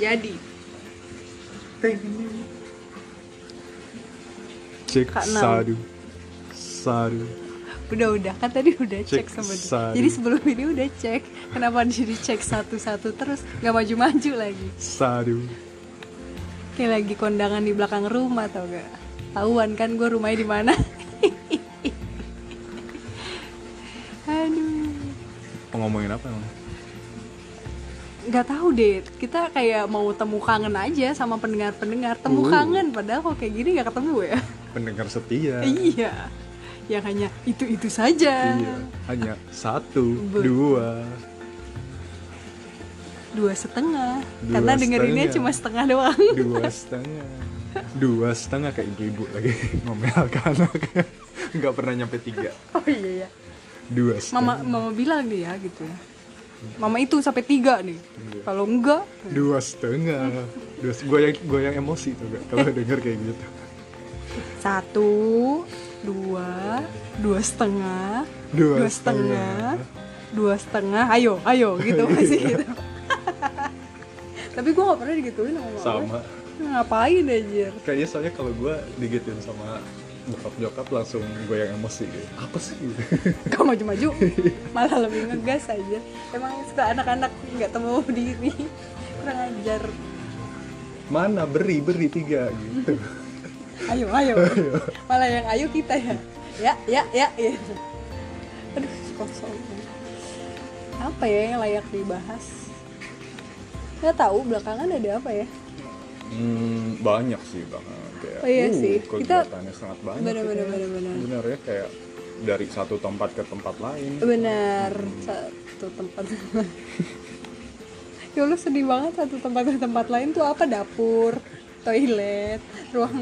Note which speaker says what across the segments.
Speaker 1: Jadi,
Speaker 2: Cek
Speaker 1: Kak Nam.
Speaker 2: sadu. Sadu.
Speaker 1: udah-udah kan tadi udah cek,
Speaker 2: Cek
Speaker 1: sama dia.
Speaker 2: satu.
Speaker 1: Jadi sebelum ini udah cek. Kenapa jadi cek satu-satu terus nggak maju-maju lagi?
Speaker 2: Sadu.
Speaker 1: Kayak lagi kondangan di belakang rumah tau gak? Tahuan kan gue rumahnya di mana? Aduh,
Speaker 2: Mau ngomongin apa emang?
Speaker 1: nggak tahu deh. Kita kayak mau temu kangen aja sama pendengar-pendengar temu
Speaker 2: Uh.
Speaker 1: kangen. Padahal kok kayak gini nggak ketemu
Speaker 2: Iya.
Speaker 1: ya?
Speaker 2: Pendengar setia.
Speaker 1: iya, yang hanya itu itu saja.
Speaker 2: Iya. Hanya satu,
Speaker 1: Be-
Speaker 2: dua.
Speaker 1: Dua setengah.
Speaker 2: Dua
Speaker 1: Karena dengerinnya
Speaker 2: setengah.
Speaker 1: cuma setengah doang.
Speaker 2: dua setengah dua setengah kayak ibu-ibu lagi ngomel ke anak nggak pernah nyampe tiga
Speaker 1: Oh iya ya.
Speaker 2: dua
Speaker 1: Mama
Speaker 2: setengah
Speaker 1: mama bilang nih ya gitu. Mama itu sampai tiga nih.
Speaker 2: Iya.
Speaker 1: Kalau enggak,
Speaker 2: dua setengah dua gue yang gua yang emosi tuh gak kalau denger kayak gitu
Speaker 1: satu dua dua setengah
Speaker 2: Dua
Speaker 1: dua setengah ayo ayo gitu masih gitu
Speaker 2: Iya.
Speaker 1: tapi gue gak pernah digituin sama mama gue.
Speaker 2: sama
Speaker 1: ngapain anjir
Speaker 2: kayaknya soalnya kalau gue digituin sama bokap nyokap langsung gue yang emosi gitu. apa sih gitu
Speaker 1: gak maju-maju
Speaker 2: Iya.
Speaker 1: malah lebih ngegas aja emang suka anak-anak nggak temu diri kurang ajar
Speaker 2: mana beri beri tiga gitu
Speaker 1: ayo ayo malah yang ayo kita ya ya ya ya gitu. aduh kosong apa ya yang layak dibahas nggak tahu belakangan ada apa ya
Speaker 2: hmm, banyak sih bang kayak
Speaker 1: Oh iya
Speaker 2: uh,
Speaker 1: sih. Kita-
Speaker 2: kegiatannya sangat banyak
Speaker 1: benar benar benar benar
Speaker 2: bener ya kayak dari satu tempat ke tempat lain
Speaker 1: benar satu tempat ya lu sedih banget satu tempat ke tempat lain tuh apa dapur toilet ruang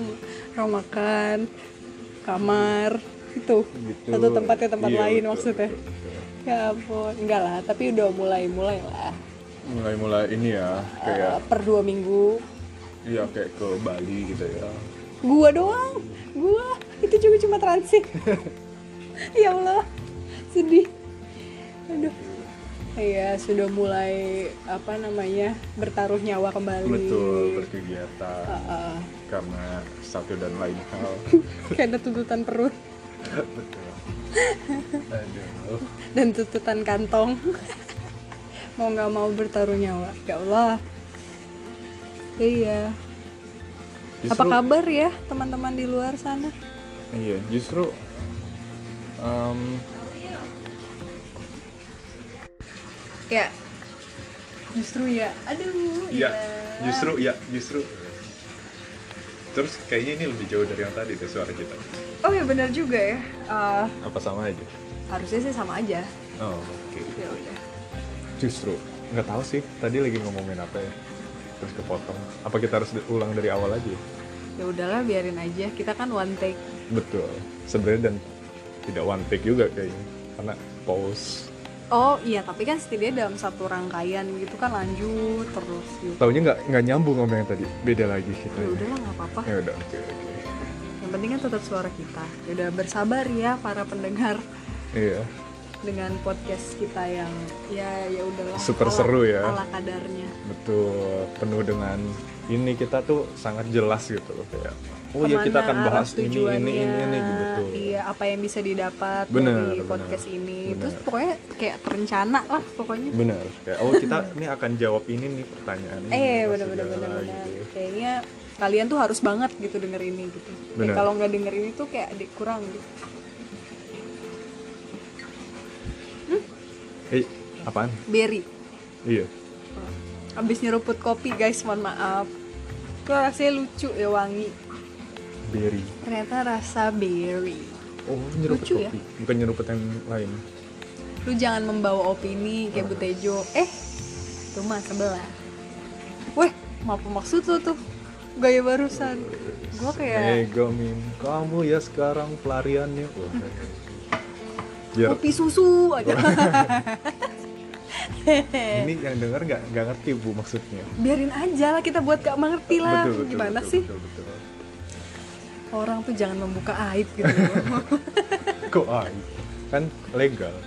Speaker 1: ruang makan kamar itu
Speaker 2: gitu.
Speaker 1: satu tempat ke tempat
Speaker 2: Iya,
Speaker 1: lain
Speaker 2: betul,
Speaker 1: maksudnya
Speaker 2: betul, betul.
Speaker 1: Ya ampun, enggak lah, tapi udah mulai-mulai lah.
Speaker 2: mulai-mulai ini ya
Speaker 1: Eh,
Speaker 2: kayak
Speaker 1: per dua minggu.
Speaker 2: iya kayak ke Bali gitu ya
Speaker 1: Gua doang, gua itu juga cuma transit. ya Allah, sedih. Aduh. Iya, sudah mulai apa namanya bertaruh nyawa kembali.
Speaker 2: betul berkegiatan
Speaker 1: Heeh.
Speaker 2: karena satu dan lain hal
Speaker 1: kayak ada tuntutan perut
Speaker 2: betul aduh
Speaker 1: dan tuntutan kantong. mau nggak mau bertaruh nyawa, ya Allah. Iya. Apa
Speaker 2: Justru-
Speaker 1: kabar ya teman-teman di luar sana?
Speaker 2: iya justru em,
Speaker 1: Ya. Justru ya. Aduh.
Speaker 2: iya justru iya justru terus kayaknya ini lebih jauh dari yang tadi tuh suara kita
Speaker 1: Oh ya benar juga ya. Eh,
Speaker 2: apa sama aja
Speaker 1: harusnya sih sama aja.
Speaker 2: oh oke
Speaker 1: Ya udah.
Speaker 2: justru nggak tahu sih tadi lagi ngomongin apa ya terus kepotong apa kita harus ulang dari awal aja ya?
Speaker 1: Ya udahlah biarin aja. Kita kan one take.
Speaker 2: Betul. Sebenarnya dan tidak one take juga kayaknya karena pause.
Speaker 1: Oh iya, tapi kan setidaknya dalam satu rangkaian gitu kan lanjut terus gitu.
Speaker 2: Taunya nggak nggak nyambung sama yang tadi. Beda lagi kita.
Speaker 1: Ya udahlah nggak apa-apa.
Speaker 2: Ya udah. Oke oke.
Speaker 1: Yang penting kan tetap suara kita. Ya udah bersabar ya para pendengar
Speaker 2: Iya.
Speaker 1: dengan podcast kita yang ya ya udahlah
Speaker 2: Super
Speaker 1: ala-
Speaker 2: seru ya.
Speaker 1: ala kadarnya
Speaker 2: Betul. Penuh dengan ini kita tuh sangat jelas gitu loh kayak. Oh ya kita akan
Speaker 1: Kemana
Speaker 2: bahas
Speaker 1: arah
Speaker 2: ini ini ini
Speaker 1: tujuannya,
Speaker 2: ini gitu. Betul.
Speaker 1: iya apa yang bisa didapat
Speaker 2: Bener,
Speaker 1: dari
Speaker 2: bener,
Speaker 1: podcast ini
Speaker 2: bener.
Speaker 1: terus pokoknya kayak terencana lah pokoknya
Speaker 2: Benar. Kayak oh kita ini akan jawab ini nih pertanyaan ini.
Speaker 1: eh
Speaker 2: apa
Speaker 1: bener bener
Speaker 2: Hmm, segala
Speaker 1: bener bener
Speaker 2: gitu.
Speaker 1: kayaknya kalian tuh harus banget gitu denger ini gitu Kayak
Speaker 2: Bener.
Speaker 1: kalau nggak denger ini tuh kayak di- kurang gitu
Speaker 2: Eh, apaan?
Speaker 1: berry
Speaker 2: Iya.
Speaker 1: abis nyeruput kopi guys mohon maaf itu rasanya lucu ya wangi
Speaker 2: Berry.
Speaker 1: ternyata rasa berry
Speaker 2: Oh, nyeruput
Speaker 1: Lucu ya.
Speaker 2: kopi. Bukan nyeruput yang lain.
Speaker 1: lu jangan membawa opini kayak Butejo eh itu mah sebelah weh apa maksud lu tuh gaya barusan gua kayak
Speaker 2: Mega Min, kamu ya sekarang pelariannya. Wah.
Speaker 1: Hmm.
Speaker 2: Biar
Speaker 1: kopi susu aja
Speaker 2: ini yang denger nggak nggak ngerti bu maksudnya.
Speaker 1: biarin aja lah kita buat gak mengerti lah gimana
Speaker 2: betul,
Speaker 1: sih
Speaker 2: Betul, betul,
Speaker 1: orang tuh jangan membuka aib gitu
Speaker 2: Kok ai? Kan legal.
Speaker 1: A-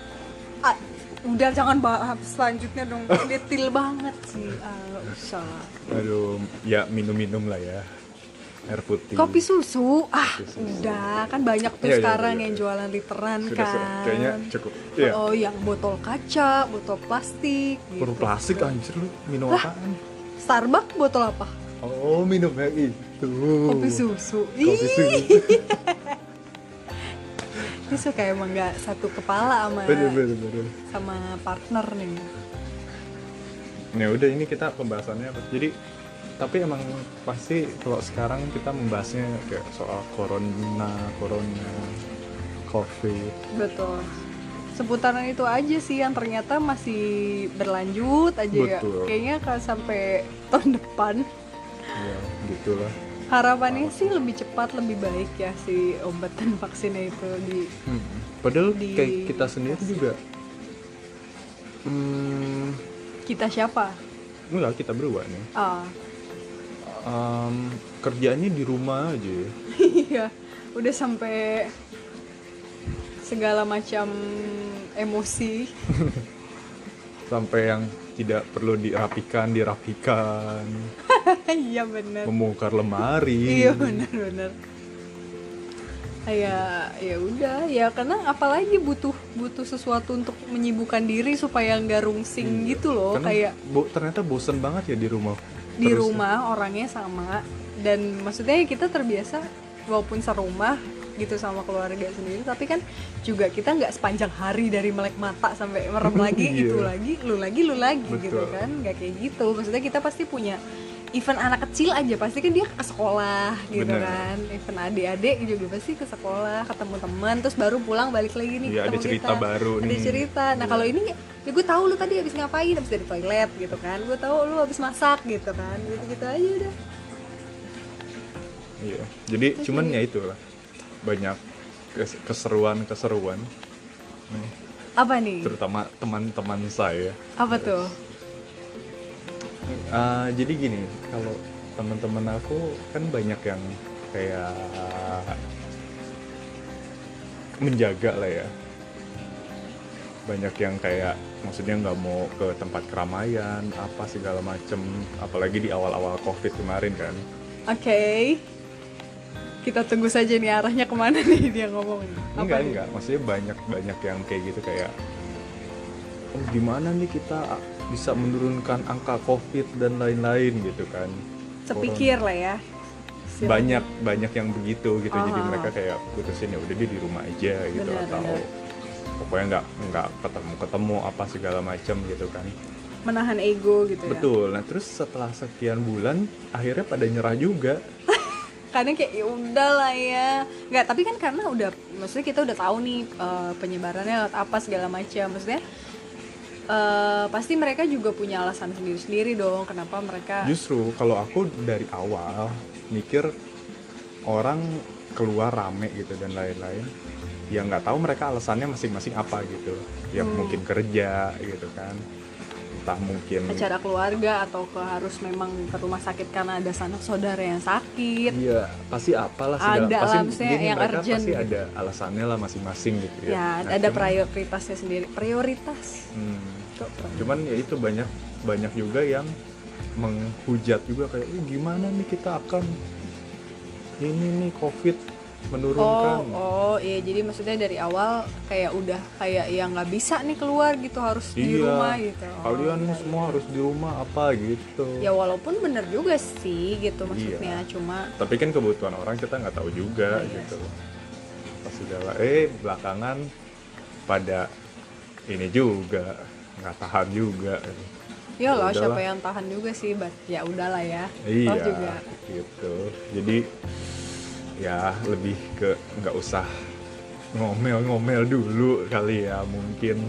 Speaker 1: Ah, udah jangan bahas selanjutnya dong detail banget sih Ah, usah
Speaker 2: Aduh, ya minum-minum lah ya. Air putih.
Speaker 1: kopi susu ah
Speaker 2: Kopi susu.
Speaker 1: udah kan banyak tuh
Speaker 2: Iya, iya,
Speaker 1: sekarang
Speaker 2: iya,
Speaker 1: yang
Speaker 2: iya.
Speaker 1: jualan literan
Speaker 2: Sudah,
Speaker 1: kan
Speaker 2: sudah. Kayaknya cukup. Iya.
Speaker 1: oh yang botol kaca botol plastik gitu.
Speaker 2: Perlu plastik anjir lu minum
Speaker 1: Lah.
Speaker 2: apaan?
Speaker 1: Starbucks botol apa
Speaker 2: Oh, minum yang itu.
Speaker 1: kopi susu
Speaker 2: Uh.
Speaker 1: Ih,
Speaker 2: Kopi susu.
Speaker 1: ini suka emang nggak satu kepala sama
Speaker 2: bener, bener, bener.
Speaker 1: sama partner nih
Speaker 2: Ya udah ini kita pembahasannya apa? Jadi tapi emang pasti kalau sekarang kita membahasnya kayak soal corona, corona, covid.
Speaker 1: betul seputaran itu aja sih yang ternyata masih berlanjut aja ya
Speaker 2: Betul.
Speaker 1: kayaknya kalau sampai tahun depan
Speaker 2: Ya, gitulah.
Speaker 1: harapannya sih lebih cepat lebih baik ya si obat dan vaksinnya itu di
Speaker 2: Hmm. Padahal
Speaker 1: Di-
Speaker 2: kayak kita sendiri juga Hmm,
Speaker 1: kita siapa
Speaker 2: enggak kita berdua nih.
Speaker 1: ah
Speaker 2: Em, kerjaannya di rumah aja. ya.
Speaker 1: iya udah sampai segala macam emosi
Speaker 2: Sampai yang tidak perlu dirapikan, dirapikan,
Speaker 1: iya bener
Speaker 2: membongkar lemari.
Speaker 1: Iya benar-benar. Ya ya udah ya karena apalagi butuh butuh sesuatu untuk menyibukkan diri supaya nggak rungsing gitu loh
Speaker 2: Karena
Speaker 1: kayak
Speaker 2: bo- ternyata bosen banget ya di rumah.
Speaker 1: di
Speaker 2: Terus-
Speaker 1: rumah orangnya sama dan maksudnya kita terbiasa walaupun serumah gitu sama keluarga sendiri tapi kan juga kita nggak sepanjang hari dari melek mata sampai merem lagi
Speaker 2: Iya.
Speaker 1: itu lagi lu lagi lu lagi gitu
Speaker 2: Betul.
Speaker 1: kan nggak kayak gitu maksudnya kita pasti punya event anak kecil aja pasti kan dia ke sekolah gitu
Speaker 2: Bener.
Speaker 1: kan event adik-adik juga pasti ke sekolah ketemu teman terus baru pulang balik lagi nih
Speaker 2: Iya, ada
Speaker 1: ketemu
Speaker 2: cerita
Speaker 1: kita.
Speaker 2: baru
Speaker 1: ada
Speaker 2: nih.
Speaker 1: cerita nah
Speaker 2: Iya.
Speaker 1: kalau ini ya gue tahu lu tadi habis ngapain habis dari toilet gitu kan gue tahu lu habis masak gitu kan gitu gitu aja udah
Speaker 2: Iya. Jadi cuman ya itu lah. Banyak kes- keseruan-keseruan. Nih,
Speaker 1: apa nih
Speaker 2: terutama teman-teman saya.
Speaker 1: apa tuh
Speaker 2: Eh, jadi gini, kalau teman-teman aku kan banyak yang kayak menjaga lah ya. Banyak yang kayak maksudnya nggak mau ke tempat keramaian, apa segala macem, apalagi di awal-awal covid kemarin kan.
Speaker 1: oke kita tunggu saja nih arahnya kemana nih dia ngomong nih. apa
Speaker 2: Enggak,
Speaker 1: nih?
Speaker 2: enggak. Maksudnya banyak-banyak yang kayak gitu kayak oh, gimana nih kita bisa menurunkan angka covid dan lain-lain gitu kan.
Speaker 1: sepikir lah ya Silakan.
Speaker 2: banyak banyak yang begitu gitu jadi
Speaker 1: Aha.
Speaker 2: mereka kayak putusin ya udah dia di rumah aja gitu
Speaker 1: Benar,
Speaker 2: atau
Speaker 1: benar.
Speaker 2: pokoknya nggak nggak ketemu ketemu apa segala macam gitu kan
Speaker 1: Iya. menahan ego gitu ya
Speaker 2: betul nah terus setelah sekian bulan akhirnya pada nyerah juga
Speaker 1: Iya. kadang kayak ya udah lah ya nggak tapi kan karena udah maksudnya kita udah tahu nih eh, penyebarannya lewat apa segala macam maksudnya eh, pasti mereka juga punya alasan sendiri-sendiri dong kenapa mereka
Speaker 2: justru kalau aku dari awal mikir orang keluar rame gitu dan lain-lain ya nggak tahu mereka alasannya masing-masing apa gitu ya
Speaker 1: Hmm.
Speaker 2: mungkin kerja gitu kan entah mungkin
Speaker 1: acara keluarga atau ke harus memang ke rumah sakit karena ada sanak saudara yang sakit
Speaker 2: Iya, pasti apalah segala
Speaker 1: Ada lah,
Speaker 2: pasti
Speaker 1: maksudnya yang
Speaker 2: mereka
Speaker 1: urgent
Speaker 2: pasti
Speaker 1: gitu.
Speaker 2: ada alasannya lah masing-masing gitu ya.
Speaker 1: ya
Speaker 2: Nah,
Speaker 1: ada
Speaker 2: cuman-
Speaker 1: prioritasnya sendiri prioritas
Speaker 2: hmm,
Speaker 1: Tuh, prioritas.
Speaker 2: cuman ya itu banyak banyak juga yang menghujat juga kayak "Ih, gimana nih kita akan ini nih covid
Speaker 1: Oh,
Speaker 2: menurunkan.
Speaker 1: oh, iya. Jadi maksudnya dari awal kayak udah kayak ya nggak bisa nih keluar gitu harus di
Speaker 2: Iya,
Speaker 1: rumah gitu. Oh,
Speaker 2: Kalian
Speaker 1: iya, iya.
Speaker 2: semua harus di rumah apa gitu.
Speaker 1: ya walaupun bener juga sih gitu maksudnya cuma
Speaker 2: Tapi kan kebutuhan orang kita nggak tahu
Speaker 1: Oh,
Speaker 2: juga
Speaker 1: iya
Speaker 2: gitu. Pas segala eh belakangan pada ini juga nggak tahan juga.
Speaker 1: ya loh
Speaker 2: udahlah.
Speaker 1: siapa yang tahan juga sih but ya udahlah ya
Speaker 2: Iya
Speaker 1: Toh juga
Speaker 2: gitu. Jadi ya lebih ke nggak usah ngomel-ngomel dulu kali ya mungkin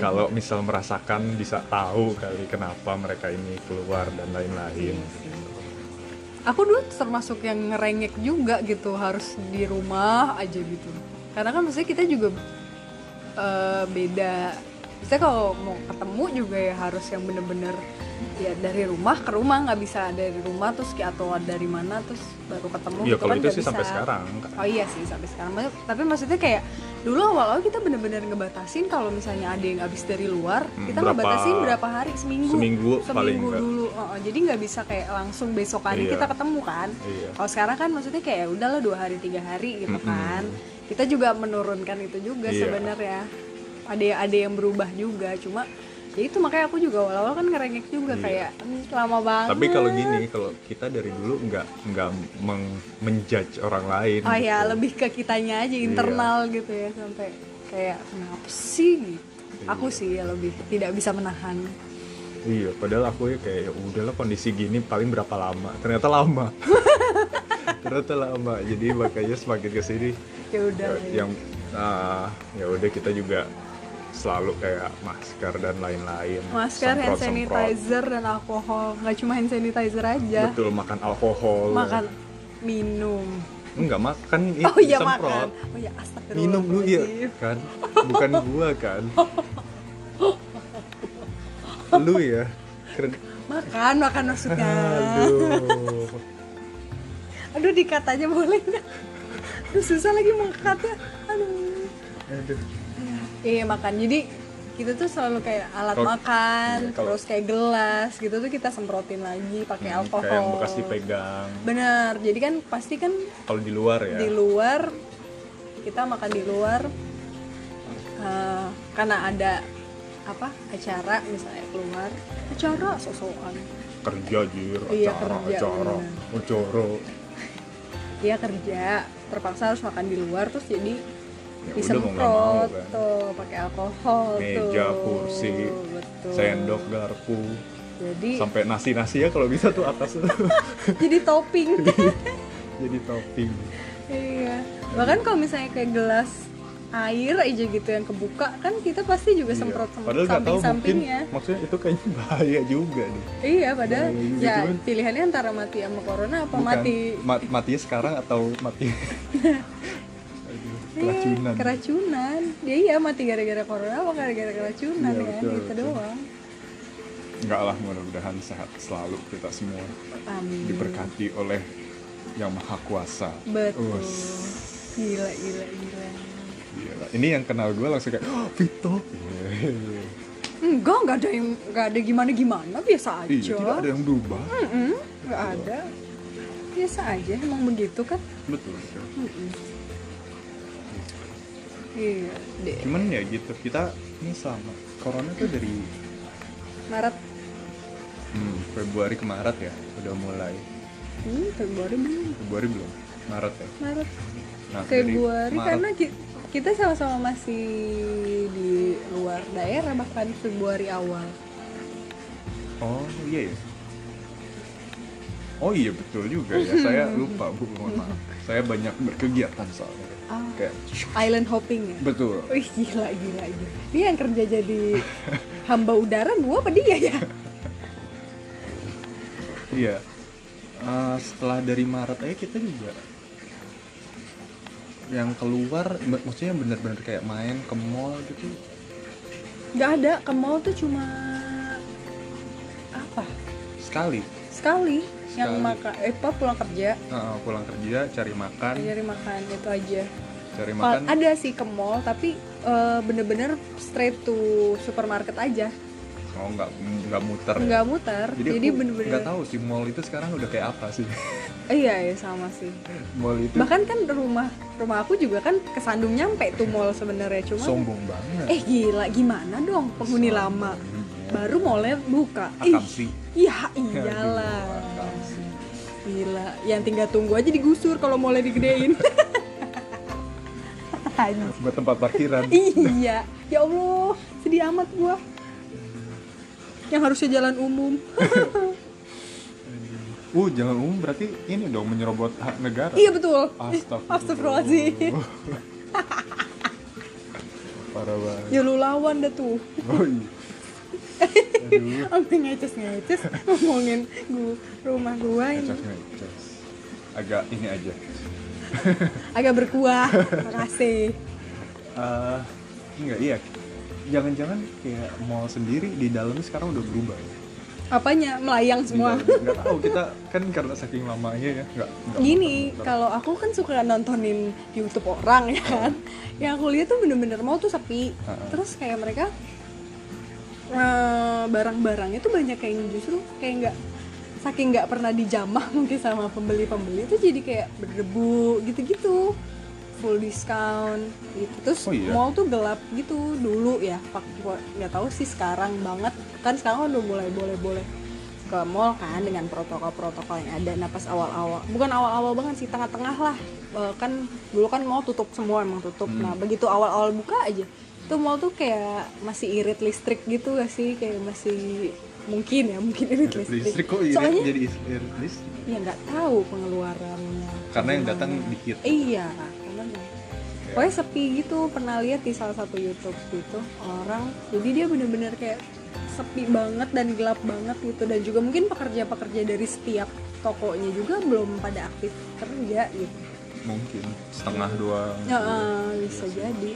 Speaker 2: kalau misal merasakan bisa tahu kali kenapa mereka ini keluar dan lain-lain.
Speaker 1: aku dulu termasuk yang ngerengek juga gitu harus di rumah aja gitu karena kan maksudnya kita juga eh, beda Maksudnya kalau mau ketemu juga ya harus yang bener-bener ya dari rumah ke rumah nggak bisa dari rumah terus kayak atau dari mana terus baru ketemu
Speaker 2: Iya
Speaker 1: gitu
Speaker 2: kalau
Speaker 1: kan
Speaker 2: itu
Speaker 1: nggak
Speaker 2: sih sampai
Speaker 1: bisa.
Speaker 2: sekarang. kan.
Speaker 1: Oh iya sih sampai sekarang. Maksud- Tapi maksudnya kayak dulu awal-awal kita bener-bener ngebatasin kalau misalnya ada yang habis dari luar
Speaker 2: Hmm,
Speaker 1: kita
Speaker 2: berapa-
Speaker 1: ngebatasin berapa hari seminggu
Speaker 2: seminggu paling
Speaker 1: seminggu
Speaker 2: nggak.
Speaker 1: dulu Oh, oh, jadi nggak bisa kayak langsung besokannya
Speaker 2: Iya.
Speaker 1: kita ketemu kan
Speaker 2: Iya.
Speaker 1: kalau sekarang kan maksudnya kayak ya udahlah dua hari tiga hari gitu kan kita juga menurunkan itu juga
Speaker 2: Iya.
Speaker 1: sebenarnya ada ada yang berubah juga cuma ya itu makanya aku juga awal-awal kan ngerengek juga
Speaker 2: Iya.
Speaker 1: kayak "Hmm, lama banget
Speaker 2: Tapi kalau gini, kalau kita dari dulu nggak nggak meng- menjudge orang lain.
Speaker 1: Oh ya
Speaker 2: gitu.
Speaker 1: lebih ke kitanya
Speaker 2: Iya.
Speaker 1: aja internal gitu ya sampai kayak kenapa sih gitu. Aku sih ya lebih tidak bisa menahan.
Speaker 2: Iya, padahal aku ya kayak "Ya udahlah kondisi gini paling berapa lama. Ternyata lama. Ternyata lama. Jadi makanya semakin kesini
Speaker 1: Ya udah.
Speaker 2: ya- yang ah, ya udah kita juga selalu kayak masker dan lain-lain.
Speaker 1: Masker, hand
Speaker 2: semprot-semprot.
Speaker 1: sanitizer dan alkohol. Nggak cuma hand sanitizer aja.
Speaker 2: Betul makan alkohol.
Speaker 1: Makan minum.
Speaker 2: Enggak makan itu
Speaker 1: Oh iya makan.
Speaker 2: semprot.
Speaker 1: Oh iya astagfirullah.
Speaker 2: Minum lu ya kan. Bukan gua kan. Lu ya. Keren.
Speaker 1: Makan, makan maksudnya.
Speaker 2: Aduh.
Speaker 1: Aduh dikat aja boleh nggak? Aduh susah lagi mau cutnya. Aduh.
Speaker 2: Aduh.
Speaker 1: Iya makan. Jadi kita tuh selalu kayak alat
Speaker 2: Kalau-
Speaker 1: makan,
Speaker 2: iya, kalau-
Speaker 1: terus kayak gelas gitu tuh kita semprotin lagi pakai
Speaker 2: Hmm,
Speaker 1: alkohol.
Speaker 2: Kayak yang bekas dipegang.
Speaker 1: Bener. Jadi kan pasti kan
Speaker 2: Kalau di luar ya.
Speaker 1: di luar kita makan di luar eh, karena ada apa acara misalnya keluar acara sosokan
Speaker 2: kerja jir,
Speaker 1: Iya,
Speaker 2: acara,
Speaker 1: kerja,
Speaker 2: acara, Oh, acara.
Speaker 1: dia kerja terpaksa harus makan di luar terus jadi
Speaker 2: Ya udah, mau nggak mau
Speaker 1: disemprot
Speaker 2: kan.
Speaker 1: tuh pakai alkohol
Speaker 2: Meja,
Speaker 1: tuh.
Speaker 2: kursi,
Speaker 1: Betul.
Speaker 2: sendok, garpu,
Speaker 1: jadi
Speaker 2: sampai nasi-nasi ya kalau bisa tuh atas tuh.
Speaker 1: jadi topping
Speaker 2: jadi topping.
Speaker 1: iya bahkan kalau misalnya kayak gelas air aja gitu yang kebuka kan kita pasti juga
Speaker 2: Iya.
Speaker 1: semprot
Speaker 2: Padahal nggak
Speaker 1: samping
Speaker 2: tahu mungkin
Speaker 1: sampingnya
Speaker 2: maksudnya itu kayaknya bahaya juga nih.
Speaker 1: iya padahal
Speaker 2: Iya, iya,
Speaker 1: ya
Speaker 2: cuman-
Speaker 1: pilihannya antara mati sama corona apa
Speaker 2: Bukan,
Speaker 1: mati
Speaker 2: ma- matinya sekarang atau mati Aduh,
Speaker 1: Iya,
Speaker 2: keracunan.
Speaker 1: keracunan ya iya mati gara-gara corona apa gara-gara keracunan
Speaker 2: Iya,
Speaker 1: ya
Speaker 2: betul,
Speaker 1: gitu
Speaker 2: betul.
Speaker 1: doang
Speaker 2: Enggak lah, mudah-mudahan sehat selalu kita semua
Speaker 1: amin
Speaker 2: diberkati oleh Yang Maha Kuasa.
Speaker 1: betul
Speaker 2: Us.
Speaker 1: gila gila gila
Speaker 2: Gila. Iya, Ini yang kenal gue langsung kayak "Oh, Vito. Iya.
Speaker 1: enggak enggak ada yang enggak ada gimana gimana biasa aja
Speaker 2: Iya, tidak ada yang berubah.
Speaker 1: Mm-mm, nggak ada biasa aja emang begitu kan
Speaker 2: Betul. betul.
Speaker 1: Iya, deh.
Speaker 2: Cuman ya gitu, kita ini sama. Corona tuh dari
Speaker 1: Maret.
Speaker 2: hmm, Februari ke Maret ya, udah mulai.
Speaker 1: Hmm, Februari belum.
Speaker 2: Februari belum? Maret ya.
Speaker 1: Maret.
Speaker 2: Nah, dari
Speaker 1: Februari
Speaker 2: Maret-
Speaker 1: karena ki- kita sama-sama masih di luar daerah bahkan Februari awal.
Speaker 2: Oh, iya ya. Oh iya betul juga ya. Saya lupa, Bu. Mohon maaf. Saya banyak berkegiatan soalnya.
Speaker 1: Ah.
Speaker 2: Kayak
Speaker 1: Island hopping ya.
Speaker 2: betul.
Speaker 1: Wih, gila gila gila. Dia yang kerja jadi hamba udara gua apa dia ya?
Speaker 2: Iya. Eh, setelah dari Maret aja kita juga yang keluar mak- maksudnya yang bener-bener kayak main ke mall gitu
Speaker 1: Gak ada, ke mall tuh cuma apa?
Speaker 2: sekali
Speaker 1: Sekali, yang
Speaker 2: Sekali.
Speaker 1: makan eh apa, pulang kerja
Speaker 2: Eh, pulang kerja cari makan
Speaker 1: nyari makan itu aja.
Speaker 2: cari
Speaker 1: Pal-
Speaker 2: makan
Speaker 1: Iya. ada sih ke mall tapi eh, bener-bener straight to supermarket aja
Speaker 2: oh nggak nggak muter ya.
Speaker 1: nggak muter
Speaker 2: jadi,
Speaker 1: jadi,
Speaker 2: aku
Speaker 1: bener-bener
Speaker 2: nggak tahu sih mall itu sekarang udah kayak apa sih
Speaker 1: Eh, iya ya sama sih
Speaker 2: mall itu
Speaker 1: bahkan kan rumah rumah aku juga kan kesandung nyampe tuh mall sebenarnya cuma
Speaker 2: sombong banget
Speaker 1: eh gila gimana dong penghuni lama baru mallnya buka ih
Speaker 2: Akamsi.
Speaker 1: iya
Speaker 2: Aduh,
Speaker 1: iyalah
Speaker 2: Akamsi.
Speaker 1: gila yang tinggal tunggu aja digusur kalau mallnya digedein Anjing.
Speaker 2: buat tempat parkiran
Speaker 1: iya ya allah sedih amat gua yang harusnya jalan umum
Speaker 2: uh jangan umum berarti ini dong menyerobot hak negara
Speaker 1: iya betul
Speaker 2: Astagfirullah.
Speaker 1: astagfirullahaladzim
Speaker 2: parah banget
Speaker 1: ya lu lawan dah tuh
Speaker 2: Oh iya. Aduh,
Speaker 1: sampai ngeces ngeces ngomongin gua, rumah gua ini
Speaker 2: ngecas ngecas. Agak ini aja.
Speaker 1: agak berkuah makasih
Speaker 2: Eh, enggak iya. Jangan-jangan kayak mall sendiri di dalam sekarang udah berubah ya.
Speaker 1: apanya melayang semua
Speaker 2: Iya, nggak tahu kita kan karena saking lamanya ya nggak nggak
Speaker 1: gini
Speaker 2: nonton.
Speaker 1: kalau aku kan suka nontonin di YouTube orang ya kan yang aku lihat tuh bener-bener mau tuh sepi
Speaker 2: Heeh.
Speaker 1: terus kayak mereka eh, barang-barangnya tuh banyak yang justru kayak nggak saking nggak pernah dijamah mungkin sama pembeli-pembeli tuh jadi kayak berdebu gitu-gitu full discount gitu terus
Speaker 2: Oh iya?
Speaker 1: mall tuh gelap gitu dulu ya pak gua nggak tahu sih sekarang banget kan sekarang udah mulai boleh boleh ke mall kan dengan protokol-protokol yang ada nah pas awal-awal bukan awal-awal banget sih tengah-tengah lah Eh, kan dulu kan mall tutup semua emang tutup
Speaker 2: Hmm.
Speaker 1: nah begitu awal-awal buka aja tuh mall tuh kayak masih irit listrik gitu gak sih kayak masih mungkin ya mungkin irit
Speaker 2: Irit
Speaker 1: listrik,
Speaker 2: listrik kok irit
Speaker 1: soalnya
Speaker 2: jadi is- irit listrik
Speaker 1: ya nggak tahu pengeluarannya
Speaker 2: Karena yang datang dikit.
Speaker 1: iya bener. pokoknya sepi gitu pernah lihat di salah satu YouTube gitu orang jadi dia bener-bener kayak sepi banget dan gelap banget gitu dan juga mungkin pekerja-pekerja dari setiap tokonya juga belum pada aktif kerja gitu
Speaker 2: mungkin setengah doang
Speaker 1: ya, eh, bisa jadi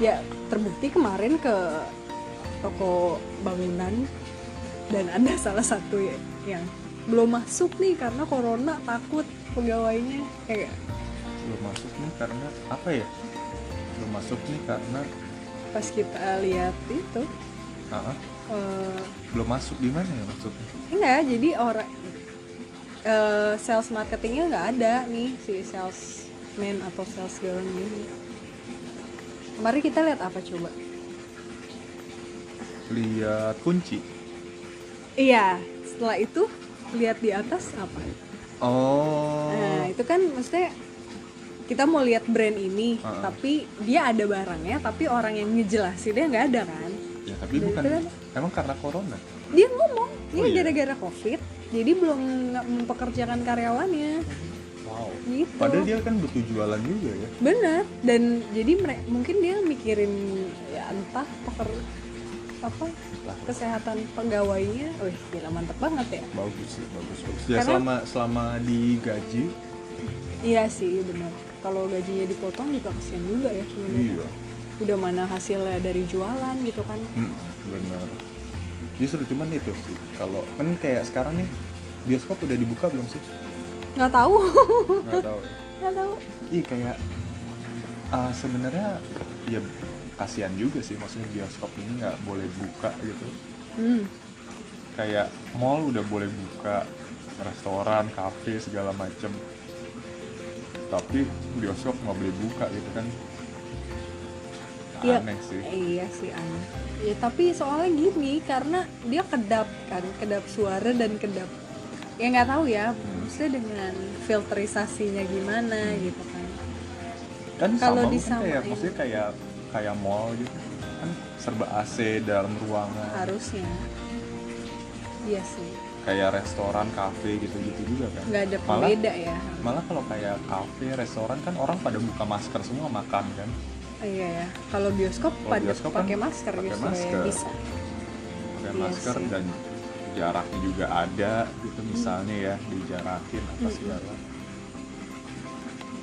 Speaker 1: ya terbukti kemarin ke toko bangunan dan ada salah satu ya- yang belum masuk nih karena corona takut pegawainya kayak
Speaker 2: belum masuk nih karena apa ya belum masuk nih karena
Speaker 1: pas kita lihat itu
Speaker 2: ah,
Speaker 1: eh,
Speaker 2: belum masuk di mana ya maksudnya
Speaker 1: enggak jadi orang eh, sales marketingnya nggak ada nih si salesman atau sales girl ini kemarin kita lihat apa coba
Speaker 2: lihat kunci
Speaker 1: iya setelah itu lihat di atas apa
Speaker 2: oh
Speaker 1: nah itu kan maksudnya kita mau lihat brand ini
Speaker 2: Heeh.
Speaker 1: tapi dia ada barangnya tapi orang yang ngejelasinnya nggak ada kan
Speaker 2: ya tapi
Speaker 1: Dari
Speaker 2: bukan
Speaker 1: itu
Speaker 2: emang karena corona
Speaker 1: dia ngomong
Speaker 2: Oh,
Speaker 1: ini
Speaker 2: iya.
Speaker 1: gara-gara covid jadi belum nggak mempekerjakan karyawannya
Speaker 2: wow
Speaker 1: gitu
Speaker 2: padahal dia kan butuh jualan juga ya
Speaker 1: bener dan jadi mere- mungkin dia mikirin ya entah peker apa
Speaker 2: Entah.
Speaker 1: kesehatan pegawainya wih gila mantep banget ya
Speaker 2: bagus sih bagus bagus ya
Speaker 1: Karena-
Speaker 2: selama selama digaji
Speaker 1: iya sih bener kalau gajinya dipotong juga kasihan juga ya sebenarnya.
Speaker 2: iya
Speaker 1: udah mana hasilnya dari jualan gitu kan
Speaker 2: Mm, bener justru cuman itu sih kalau kan kayak sekarang nih bioskop udah dibuka belum sih
Speaker 1: nggak tahu
Speaker 2: nggak tahu ya.
Speaker 1: nggak tahu
Speaker 2: Iya kayak ah, sebenarnya ya kasihan juga sih maksudnya bioskop ini nggak boleh buka gitu
Speaker 1: hmm.
Speaker 2: kayak mall udah boleh buka restoran kafe segala macem tapi bioskop nggak boleh buka gitu kan
Speaker 1: Iya.
Speaker 2: aneh sih
Speaker 1: iya sih aneh ya tapi soalnya gini karena dia kedap kan kedap suara dan kedap ya nggak tahu ya maksudnya dengan filterisasinya gimana gitu kan
Speaker 2: kan
Speaker 1: Kalau
Speaker 2: sama
Speaker 1: di
Speaker 2: kan kayak
Speaker 1: sama-
Speaker 2: maksudnya kayak kayak mall gitu kan serba AC dalam ruangan
Speaker 1: harusnya iya sih
Speaker 2: kayak restoran kafe gitu gitu juga kan
Speaker 1: nggak ada
Speaker 2: Malah-
Speaker 1: pembeda ya
Speaker 2: malah kalau kayak kafe restoran kan orang pada buka masker semua makan kan
Speaker 1: iya ya kalau bioskop
Speaker 2: Kalau
Speaker 1: pada
Speaker 2: bioskop kan
Speaker 1: pakai masker
Speaker 2: pakai
Speaker 1: justru
Speaker 2: masker.
Speaker 1: ya bisa
Speaker 2: pakai
Speaker 1: Iya
Speaker 2: masker
Speaker 1: sih.
Speaker 2: dan jaraknya juga ada gitu misalnya ya dijarakin apa segala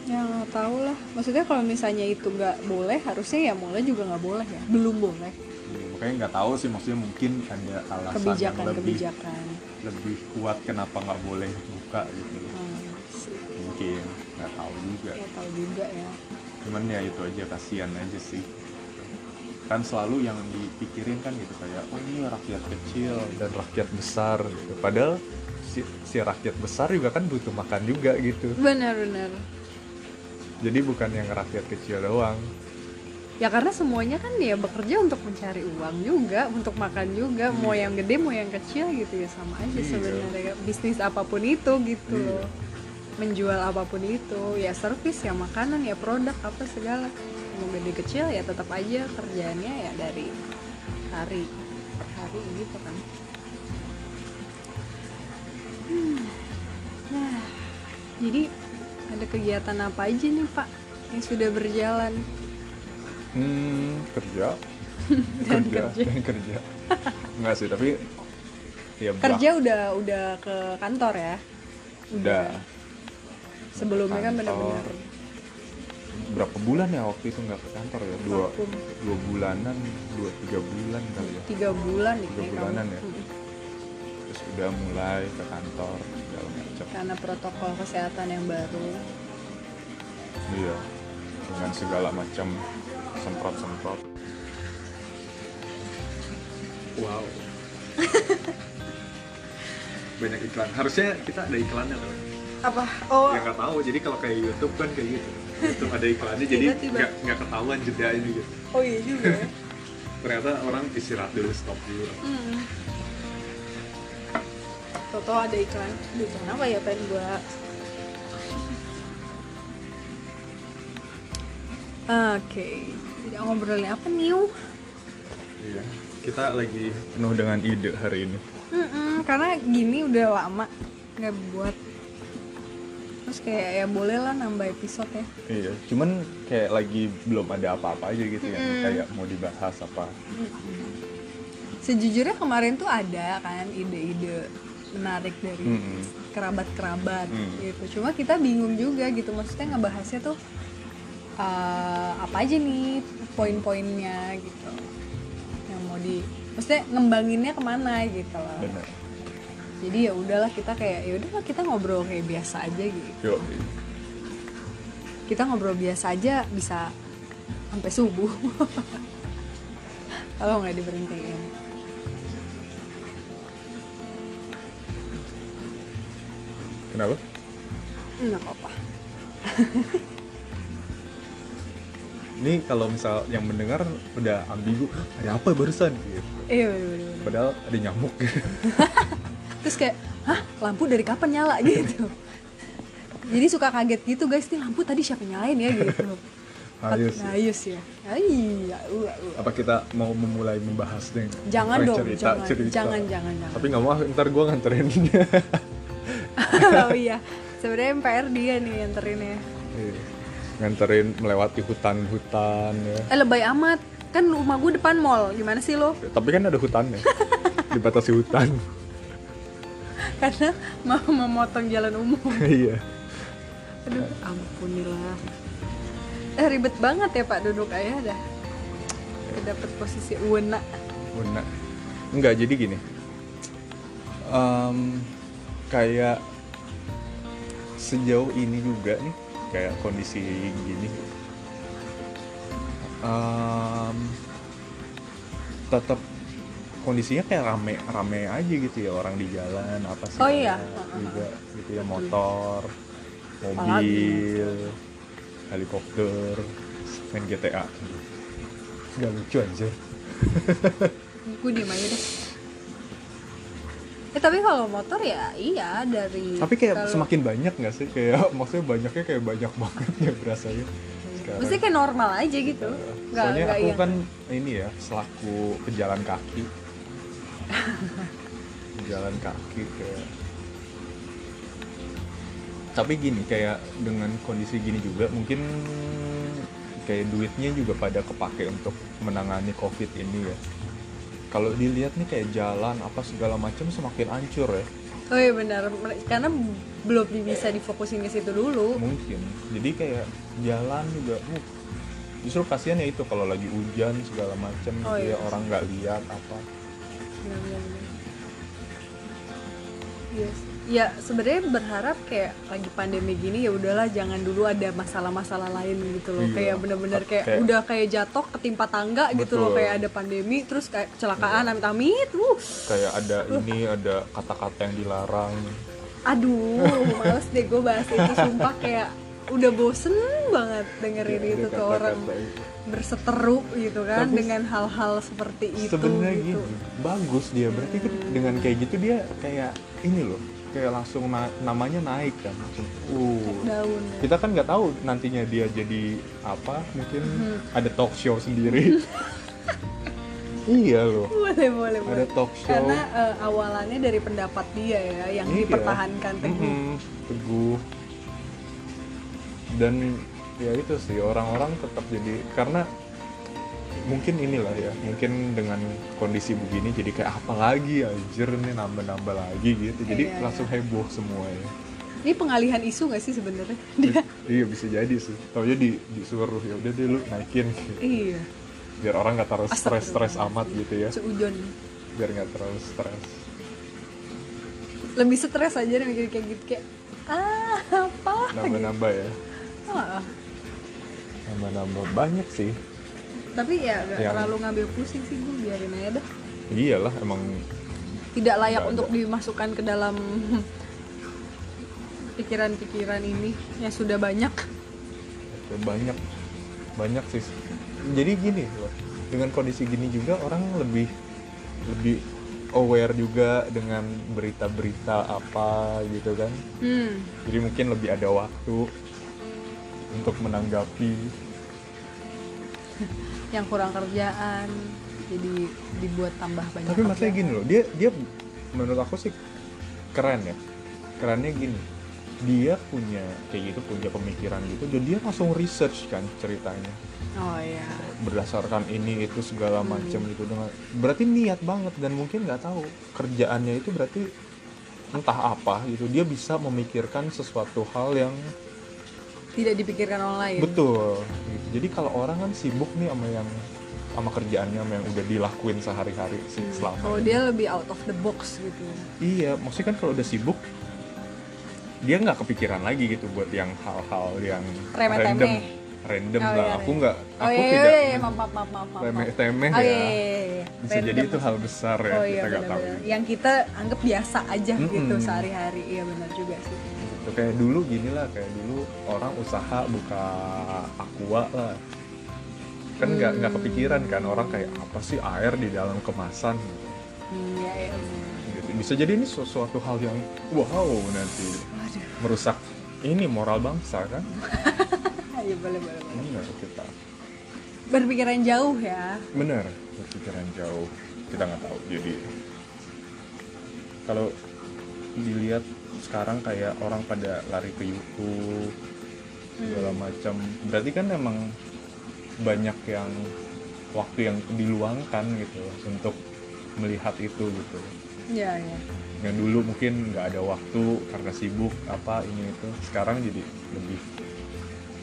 Speaker 1: ya nggak tahu lah maksudnya kalau misalnya itu nggak boleh harusnya ya mulai juga nggak boleh ya belum boleh
Speaker 2: Iya, makanya nggak tahu sih maksudnya mungkin ada alasan yang
Speaker 1: kebijakan
Speaker 2: lebih
Speaker 1: kebijakan
Speaker 2: lebih kuat kenapa nggak boleh buka gitu mungkin nggak tahu juga
Speaker 1: ya tahu juga ya
Speaker 2: cuman ya itu aja kasihan aja sih kan selalu yang dipikirin kan gitu kayak oh ini rakyat kecil dan rakyat besar gitu padahal si, si rakyat besar juga kan butuh makan juga gitu
Speaker 1: benar-benar
Speaker 2: jadi bukan yang rakyat kecil doang
Speaker 1: ya karena semuanya kan dia bekerja untuk mencari uang juga untuk makan juga mau yang gede mau yang kecil gitu ya sama aja
Speaker 2: Iya.
Speaker 1: sebenarnya bisnis apapun itu gitu
Speaker 2: Iya.
Speaker 1: loh menjual apapun itu ya servis ya makanan ya produk apa segala mau gede kecil ya tetap aja kerjaannya ya dari hari per hari gitu kan Hmm. nah jadi ada kegiatan apa aja nih pak yang sudah berjalan
Speaker 2: hmm kerja
Speaker 1: Dan
Speaker 2: kerja
Speaker 1: kerja.
Speaker 2: dan kerja nggak sih tapi ya bah-
Speaker 1: kerja udah udah ke kantor ya
Speaker 2: udah
Speaker 1: sebelumnya kan
Speaker 2: Kantor.
Speaker 1: benar-benar
Speaker 2: berapa bulan ya waktu itu nggak ke kantor ya dua
Speaker 1: Vakum.
Speaker 2: dua bulanan dua tiga bulan kali ya
Speaker 1: tiga bulan nih Hmm,
Speaker 2: Tiga
Speaker 1: kayak
Speaker 2: bulanan ya?
Speaker 1: Mm-mm.
Speaker 2: terus udah mulai ke kantor segala macam
Speaker 1: karena protokol kesehatan yang baru
Speaker 2: iya dengan segala macam semprot semprot wow banyak iklan harusnya kita ada iklannya loh
Speaker 1: apa oh
Speaker 2: yang nggak tahu jadi kalau kayak YouTube kan kayak gitu YouTube ada iklannya jadi
Speaker 1: Tiba-tiba.
Speaker 2: nggak nggak ketahuan jeda ini gitu
Speaker 1: oh iya juga ya.
Speaker 2: ternyata orang istirahat dulu stop dulu
Speaker 1: hmm. Toto ada iklan Duh, iklan apa ya pengen gua Oke, tidak ngobrolin apa new?
Speaker 2: iya kita lagi penuh dengan ide hari ini
Speaker 1: Mm-mm, karena gini udah lama nggak buat. Terus kayak ya boleh lah nambah episode ya.
Speaker 2: Iya, cuman kayak lagi belum ada apa-apa aja gitu yang kayak mau dibahas apa.
Speaker 1: Sejujurnya kemarin tuh ada kan ide-ide menarik dari
Speaker 2: Mm-mm.
Speaker 1: kerabat-kerabat
Speaker 2: Mm.
Speaker 1: gitu. Cuma kita bingung juga gitu. Maksudnya ngebahasnya tuh eh, apa aja nih poin-poinnya gitu yang mau di maksudnya ngembanginnya kemana gitu loh
Speaker 2: Bener.
Speaker 1: jadi ya udahlah kita kayak ya udahlah kita ngobrol kayak biasa aja gitu
Speaker 2: Yuk.
Speaker 1: kita ngobrol biasa aja bisa sampai subuh kalau nggak diberhentiin
Speaker 2: Kenapa?
Speaker 1: nggak apa-apa
Speaker 2: Ini kalau misal yang mendengar udah ambigu, ada apa barusan gitu.
Speaker 1: iya bener, bener, bener.
Speaker 2: Padahal ada nyamuk.
Speaker 1: terus kayak hah lampu dari kapan nyala gitu jadi suka kaget gitu guys nih lampu tadi siapa yang nyalain ya gitu
Speaker 2: Ayus.
Speaker 1: Nah, ayus ya Ayy, ya, ua, ua.
Speaker 2: Apa kita mau memulai membahasnya?
Speaker 1: Jangan
Speaker 2: Orang
Speaker 1: dong,
Speaker 2: cerita,
Speaker 1: jangan,
Speaker 2: cerita.
Speaker 1: jangan, jangan, jangan.
Speaker 2: Tapi nggak mau, ntar gue nganterin. Iya.
Speaker 1: oh iya sebenarnya MPR dia nih ya. nganterinnya
Speaker 2: Iya. nganterin melewati hutan-hutan ya.
Speaker 1: eh lebay amat kan rumah gue depan mall gimana sih lo
Speaker 2: Tapi kan ada hutannya, dibatasi hutan.
Speaker 1: karena mau memotong jalan umum
Speaker 2: Iya.
Speaker 1: Aduh, ampunilah. Eh ribet banget ya Pak duduk ayah dah. Dapat posisi wena.
Speaker 2: Benar. Enggak, jadi gini. Em, kayak sejauh ini juga nih, kayak kondisi gini. Em, tetap kondisinya kayak rame rame aja gitu ya orang di jalan apa sih
Speaker 1: Oh iya.
Speaker 2: juga gitu ya motor mobil
Speaker 1: Apalagi.
Speaker 2: helikopter main GTA nggak lucu anjir
Speaker 1: Gue diem aja deh. Eh tapi kalau motor ya iya dari
Speaker 2: Tapi kayak
Speaker 1: kalau-
Speaker 2: semakin banyak nggak sih? Kayak maksudnya banyaknya kayak banyak banget ya berasanya. Sekarang. eh,
Speaker 1: mesti kayak normal aja gitu. Enggak
Speaker 2: Soalnya
Speaker 1: enggak
Speaker 2: aku
Speaker 1: yang
Speaker 2: kan ini ya selaku pejalan kaki. pejalan kaki kayak. Tapi gini kayak dengan kondisi gini juga mungkin kayak duitnya juga pada kepake untuk menangani covid ini ya. Kalau dilihat nih kayak jalan apa segala macam semakin hancur ya.
Speaker 1: Oh iya benar, Mer- karena belum bisa difokusin ke situ dulu.
Speaker 2: mungkin jadi kayak jalan juga uh, justru kasihan ya itu kalau lagi hujan segala macam
Speaker 1: Oh,
Speaker 2: gitu
Speaker 1: iya.
Speaker 2: ya, orang nggak lihat apa
Speaker 1: Benar, benar, benar. Yes. Ya sebenarnya berharap kayak lagi pandemi gini ya udahlah jangan dulu ada masalah-masalah lain gitu loh.
Speaker 2: Iya.
Speaker 1: Kayak bener-bener kayak,
Speaker 2: Kayak-
Speaker 1: udah kayak jatuh ketimpa tangga gitu
Speaker 2: Betul. Iya.
Speaker 1: loh kayak ada pandemi terus kayak kecelakaan amit-amit. Wuh.
Speaker 2: kayak ada
Speaker 1: Uh.
Speaker 2: ini ada kata-kata yang dilarang
Speaker 1: Aduh, males deh gue bahas itu sumpah kayak udah bosen banget dengerin
Speaker 2: Iya,
Speaker 1: itu
Speaker 2: ada
Speaker 1: tuh orang
Speaker 2: kata-kata itu.
Speaker 1: berseteru gitu kan
Speaker 2: Tapi-
Speaker 1: dengan hal-hal seperti itu
Speaker 2: sebenarnya
Speaker 1: gitu.
Speaker 2: gini bagus dia berarti kan dengan kayak gitu dia kayak ini loh kayak langsung na- namanya naik kan langsung uh
Speaker 1: Daun.
Speaker 2: kita kan nggak tahu nantinya dia jadi apa mungkin
Speaker 1: Mm-hmm.
Speaker 2: ada talk show sendiri iya loh
Speaker 1: boleh boleh
Speaker 2: Ada
Speaker 1: boleh.
Speaker 2: talk show.
Speaker 1: karena eh, awalannya dari pendapat dia ya yang
Speaker 2: Iya.
Speaker 1: dipertahankan teguh
Speaker 2: Mm-mm, teguh dan ya itu sih orang-orang tetap jadi karena mungkin inilah ya mungkin dengan kondisi begini jadi kayak apa lagi anjir nih nambah-nambah lagi gitu jadi
Speaker 1: Iya,
Speaker 2: langsung heboh semua ya
Speaker 1: ini pengalihan isu nggak sih sebenarnya dia
Speaker 2: iya bisa jadi sih taunya di disuruh ya udah deh lu naikin gitu.
Speaker 1: iya
Speaker 2: biar orang nggak terlalu stres-stres gitu
Speaker 1: Astagfirullah.
Speaker 2: amat gitu ya
Speaker 1: seudon
Speaker 2: biar nggak terlalu stres
Speaker 1: lebih stres aja nih mikirin kayak gitu kayak ah apa gitu?
Speaker 2: nambah-nambah ya
Speaker 1: Ah.
Speaker 2: nambah-nambah banyak sih
Speaker 1: tapi ya gak
Speaker 2: Yang-
Speaker 1: terlalu ngambil pusing sih gue biarin aja dah
Speaker 2: iyalah emang
Speaker 1: tidak layak
Speaker 2: Nggak
Speaker 1: untuk
Speaker 2: ada.
Speaker 1: dimasukkan ke dalam pikiran-pikiran ini yang sudah banyak
Speaker 2: banyak banyak sih jadi gini loh dengan kondisi gini juga orang lebih lebih aware juga dengan berita-berita apa gitu kan
Speaker 1: hmm
Speaker 2: jadi mungkin lebih ada waktu untuk menanggapi
Speaker 1: yang kurang kerjaan jadi dibuat tambah banyak
Speaker 2: tapi maksudnya
Speaker 1: kerjaan.
Speaker 2: gini loh dia dia menurut aku sih keren ya kerennya gini dia punya kayak gitu punya pemikiran gitu jadi dia langsung research kan ceritanya
Speaker 1: oh iya
Speaker 2: berdasarkan ini itu segala macam gitu dengan berarti niat banget dan mungkin nggak tahu kerjaannya itu berarti entah apa gitu dia bisa memikirkan sesuatu hal yang
Speaker 1: tidak dipikirkan online
Speaker 2: betul gitu. jadi kalau orang kan sibuk nih sama yang sama kerjaannya sama yang udah dilakuin sehari-hari sih selama
Speaker 1: kalau
Speaker 2: ini.
Speaker 1: Oh, dia lebih out of the box gitu
Speaker 2: Iya, maksudnya kan kalau udah sibuk dia nggak kepikiran lagi gitu buat yang hal-hal yang
Speaker 1: Remeh-temeh.
Speaker 2: random, random
Speaker 1: Oh,
Speaker 2: lah.
Speaker 1: iya,
Speaker 2: aku
Speaker 1: iya.
Speaker 2: nggak,
Speaker 1: oh
Speaker 2: aku
Speaker 1: iya, iya,
Speaker 2: tidak
Speaker 1: iya, maaf maaf maaf maaf, maaf.
Speaker 2: remeh-temeh
Speaker 1: oh,
Speaker 2: ya.
Speaker 1: iya, iya, iya.
Speaker 2: Bisa jadi
Speaker 1: Random.
Speaker 2: itu hal besar ya
Speaker 1: oh iya
Speaker 2: kita nggak tahu.
Speaker 1: benar-benar yang kita anggap biasa aja gitu
Speaker 2: Mm-mm.
Speaker 1: sehari-hari iya benar juga sih
Speaker 2: Gitu. Kayak dulu gini lah, kayak dulu orang usaha buka aqua lah kan
Speaker 1: Hmm.
Speaker 2: nggak nggak kepikiran kan orang kayak apa sih air di dalam kemasan
Speaker 1: Hmm, iya iya benar.
Speaker 2: gitu. bisa jadi ini sesuatu hal yang wow nanti
Speaker 1: Waduh,
Speaker 2: merusak ini moral bangsa kan
Speaker 1: ya boleh boleh boleh.
Speaker 2: benar kita
Speaker 1: Berpikiran jauh ya.
Speaker 2: benar berpikiran jauh kita nggak tahu jadi kalau dilihat sekarang kayak orang pada lari ke YouTube
Speaker 1: Hmm.
Speaker 2: segala macam berarti kan emang banyak yang waktu yang diluangkan gitu untuk melihat itu gitu
Speaker 1: Iya iya.
Speaker 2: yang dulu mungkin nggak ada waktu karena sibuk apa ini itu sekarang jadi lebih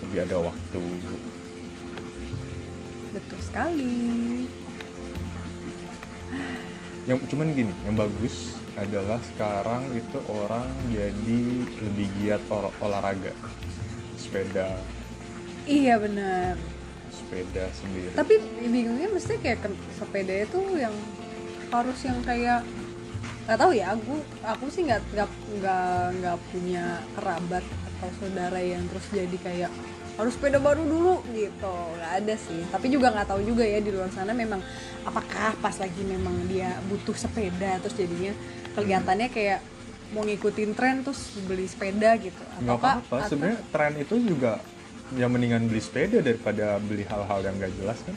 Speaker 2: lebih ada waktu
Speaker 1: Betul sekali.
Speaker 2: yang cuman gini yang bagus adalah sekarang itu orang jadi lebih giat olah- olahraga sepeda
Speaker 1: Iya benar.
Speaker 2: sepeda sendiri
Speaker 1: Tapi bingungnya mesti kayak ke- sepeda itu yang harus yang kayak nggak tahu ya aku aku sih nggak nggak nggak nggak punya kerabat atau saudara yang terus jadi kayak harus sepeda baru dulu gitu nggak ada sih tapi juga nggak tahu juga ya di luar sana memang apakah pas lagi memang dia butuh sepeda terus jadinya kelihatannya kayak mau ngikutin tren terus beli sepeda gitu
Speaker 2: nggak apa-apa
Speaker 1: atau-
Speaker 2: sebenarnya tren itu juga yang mendingan beli sepeda daripada beli hal-hal yang nggak jelas kan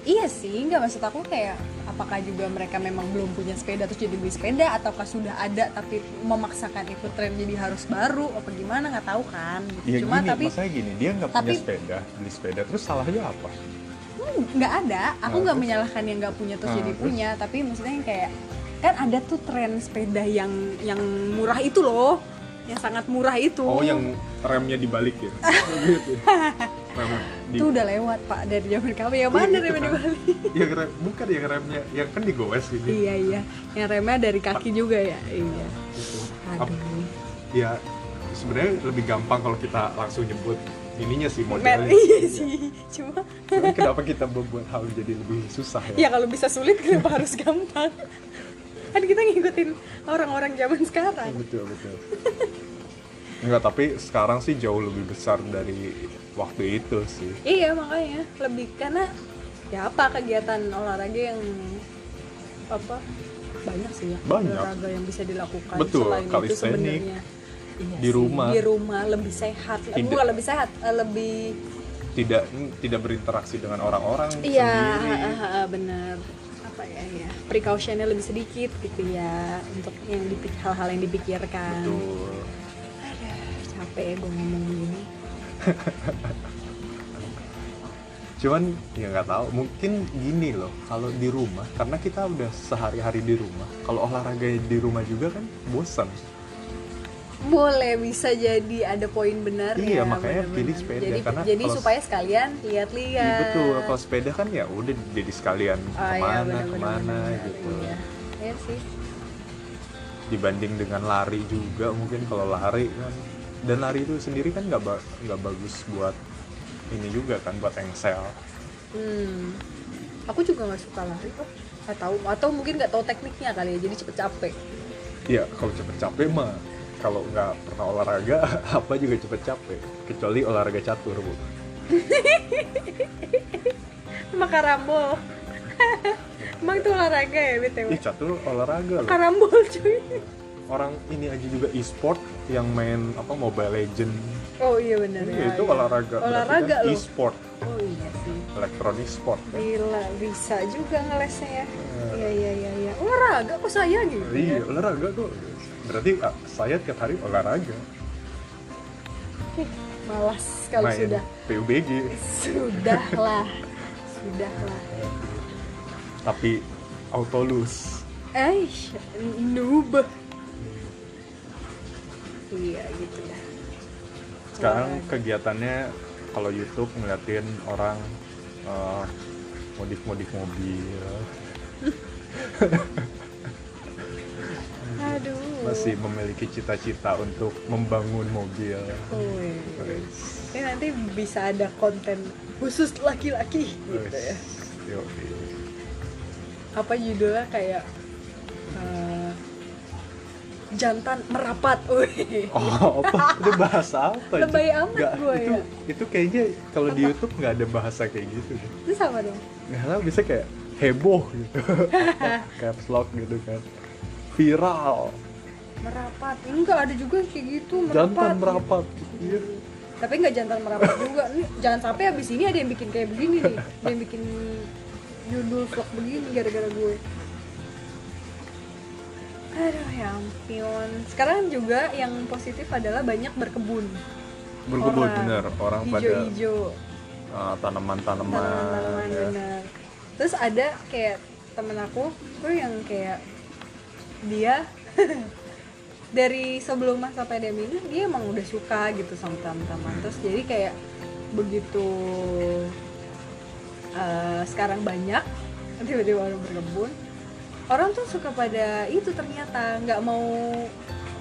Speaker 1: Iya sih, nggak maksud aku kayak apakah juga mereka memang belum punya sepeda terus jadi beli sepeda ataukah sudah ada tapi memaksakan ikut tren jadi harus baru apa gimana nggak tahu kan.
Speaker 2: ya
Speaker 1: Cuma
Speaker 2: gini
Speaker 1: tapi
Speaker 2: maksudnya gini dia nggak punya
Speaker 1: tapi-
Speaker 2: sepeda beli sepeda terus salahnya apa
Speaker 1: hmm, nggak ada. Aku
Speaker 2: Nah,
Speaker 1: nggak
Speaker 2: terus?
Speaker 1: menyalahkan yang nggak punya terus
Speaker 2: Nah,
Speaker 1: jadi
Speaker 2: terus?
Speaker 1: punya, tapi maksudnya yang kayak kan ada tuh tren sepeda yang yang murah itu loh, yang sangat murah itu.
Speaker 2: oh yang remnya dibalik ya gitu Rem di-
Speaker 1: itu udah lewat pak dari zaman kamu ya mana
Speaker 2: Iya, gitu
Speaker 1: remnya di
Speaker 2: kan. yang rem bukan yang remnya yang kan digowes gini
Speaker 1: Iya iya, yang remnya dari kaki juga ya. Iya.
Speaker 2: Gitu. Ap-
Speaker 1: Aduh.
Speaker 2: ya sebenarnya lebih gampang kalau kita langsung nyebut ininya sih
Speaker 1: Mer,
Speaker 2: modelnya
Speaker 1: iya sih. Cuma
Speaker 2: Cuman kenapa kita membuat hal jadi lebih susah
Speaker 1: Ya
Speaker 2: ya,
Speaker 1: kalau bisa sulit kenapa harus gampang? Kan kita ngikutin orang-orang zaman sekarang.
Speaker 2: betul betul Enggak, tapi sekarang sih jauh lebih besar dari waktu itu sih
Speaker 1: Iya makanya lebih karena ya apa kegiatan olahraga yang apa banyak sih ya
Speaker 2: Banyak.
Speaker 1: olahraga yang bisa dilakukan
Speaker 2: Betul,
Speaker 1: selain itu
Speaker 2: calisthenics.
Speaker 1: sebenarnya Iya
Speaker 2: Di
Speaker 1: sih,
Speaker 2: rumah.
Speaker 1: di rumah lebih sehat Eh,
Speaker 2: Tidak.
Speaker 1: bukan lebih sehat eh, lebih
Speaker 2: tidak tidak berinteraksi dengan orang-orang
Speaker 1: iya
Speaker 2: sendiri
Speaker 1: ah, ah, ah, benar apa ya ya precautionnya lebih sedikit gitu ya untuk yang dipik- hal-hal yang dipikirkan
Speaker 2: betul
Speaker 1: Aduh, capek ya gue ngomong gini
Speaker 2: cuman ya nggak tahu mungkin gini loh kalau di rumah karena kita udah sehari-hari di rumah kalau olahraga di rumah juga kan bosan
Speaker 1: boleh bisa jadi ada poin benar
Speaker 2: Iya, makanya pilih sepeda,
Speaker 1: jadi,
Speaker 2: karena
Speaker 1: jadi
Speaker 2: kalau-
Speaker 1: supaya sekalian lihat-lihat
Speaker 2: Iya betul, kalau sepeda kan ya udah jadi sekalian
Speaker 1: Ah, iya,
Speaker 2: kemana gitu.
Speaker 1: benar-benar, Iya
Speaker 2: kemana
Speaker 1: benar-benar,
Speaker 2: gitu.
Speaker 1: iya. Iya sih
Speaker 2: dibanding dengan lari juga mungkin kalau lari kan dan lari itu sendiri kan nggak ba- nggak bagus buat ini juga kan buat engsel
Speaker 1: Hmm. Aku juga nggak suka lari kok. Nggak tahu atau mungkin nggak tahu tekniknya kali ya. Jadi cepet capek.
Speaker 2: Iya, kalau cepet capek mah kalau nggak pernah olahraga apa juga cepet capek kecuali olahraga catur bu
Speaker 1: Sama karambol. Emang itu olahraga ya BTW?
Speaker 2: ih catur olahraga loh
Speaker 1: Karambol cuy.
Speaker 2: orang ini aja juga e-sport yang main apa mobile legend
Speaker 1: Oh iya benar ya.
Speaker 2: Iya, itu
Speaker 1: iya.
Speaker 2: olahraga berarti
Speaker 1: Olahraga
Speaker 2: kan
Speaker 1: loh.
Speaker 2: e-sport
Speaker 1: Oh iya sih.
Speaker 2: elektronik sport kan?
Speaker 1: Gila, bisa juga ngelesnya ya. Iya iya iya iya. Olahraga kok saya gitu.
Speaker 2: iya
Speaker 1: ya?
Speaker 2: olahraga kok berarti ah, saya tiap hari olahraga
Speaker 1: Ih, Malas kalau
Speaker 2: main
Speaker 1: sudah.
Speaker 2: PUBG
Speaker 1: Sudahlah. Sudahlah.
Speaker 2: tapi autolus
Speaker 1: Eh, noob. Iya gitu dah.
Speaker 2: sekarang
Speaker 1: Olahraga.
Speaker 2: kegiatannya kalau YouTube ngeliatin orang eh, modif-modif mobil
Speaker 1: Aduh.
Speaker 2: kan masih memiliki cita-cita untuk membangun mobil
Speaker 1: Wih.
Speaker 2: Wes,
Speaker 1: Ini nanti bisa ada konten khusus laki-laki gitu ya.
Speaker 2: wes, yoi.
Speaker 1: Apa judulnya kayak eh, jantan merapat. Wih.
Speaker 2: oh apa itu bahasa apa itu?
Speaker 1: Lebay amat
Speaker 2: Nggak,
Speaker 1: gua
Speaker 2: itu
Speaker 1: ya.
Speaker 2: itu kayaknya kalau di YouTube nggak ada bahasa kayak gitu deh.
Speaker 1: Itu sama dong.
Speaker 2: nggak tahu bisa kayak heboh gitu caps lock gitu kan viral
Speaker 1: Merapat. Enggak ada juga yang kayak gitu merapat.
Speaker 2: jantan merapat Iya.
Speaker 1: Tapi nggak jantan merapat juga. Nih, jangan sampai habis ini ada yang bikin kayak begini nih. Ada yang bikin judul vlog begini gara-gara gue. Aduh ya ampun. Sekarang juga yang positif adalah banyak berkebun.
Speaker 2: berkebun
Speaker 1: Orang.
Speaker 2: bener orang pada
Speaker 1: Hijau-hijau.
Speaker 2: uh, tanaman-tanaman
Speaker 1: tanaman-tanaman
Speaker 2: ya.
Speaker 1: benar terus ada kayak temen aku tuh yang kayak dia dari sebelum masa pandemi ini dia emang udah suka gitu sama taman-taman terus jadi kayak begitu eh, sekarang banyak tiba-tiba orang berkebun orang tuh suka pada itu ternyata nggak mau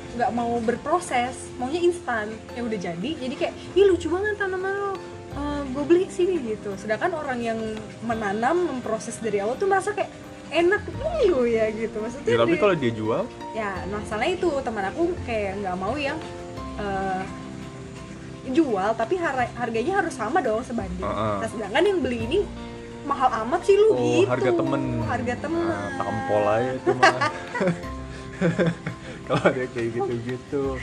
Speaker 1: nggak mau berproses maunya instan yang udah jadi jadi kayak ih lucu banget tanaman lo Eh, gue beli sini gitu sedangkan orang yang menanam memproses dari awal tuh merasa kayak enak dulu ya gitu maksudnya
Speaker 2: Ya, tapi
Speaker 1: dia-
Speaker 2: kalau dia jual
Speaker 1: ya masalahnya itu teman aku kayak nggak mau yang eh, jual tapi har- harganya harus sama dong sebanding
Speaker 2: Heeh.
Speaker 1: nah sedangkan yang beli ini mahal amat sih lu
Speaker 2: oh,
Speaker 1: gitu
Speaker 2: harga temen
Speaker 1: harga temen
Speaker 2: Ah, tampol aja itu mah kalau ada kayak gitu-gitu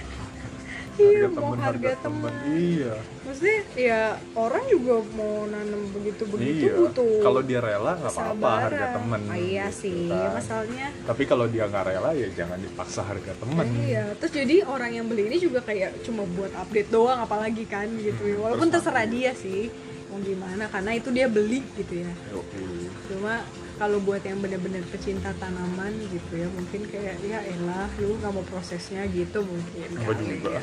Speaker 1: Iya,
Speaker 2: harga
Speaker 1: mau
Speaker 2: temen
Speaker 1: harga
Speaker 2: harga
Speaker 1: temen
Speaker 2: temen iya
Speaker 1: maksudnya ya orang juga mau nanam begitu begitu
Speaker 2: iya
Speaker 1: butuh
Speaker 2: kalau dia rela nggak apa-apa
Speaker 1: kesabaran.
Speaker 2: harga temen
Speaker 1: Ah, iya
Speaker 2: gitu
Speaker 1: sih
Speaker 2: kan.
Speaker 1: masalahnya
Speaker 2: tapi kalau dia nggak rela ya jangan dipaksa harga temen
Speaker 1: Iya, terus jadi orang yang beli ini juga kayak cuma buat update doang apalagi kan gitu. Walaupun
Speaker 2: Terus
Speaker 1: terserah dia sih mau gimana karena itu dia beli gitu ya.
Speaker 2: Yoi.
Speaker 1: Cuma kalau buat yang bener-bener pecinta tanaman gitu ya mungkin kayak ya elah lu nggak mau prosesnya gitu mungkin.
Speaker 2: Gua
Speaker 1: kali
Speaker 2: juga.
Speaker 1: ya.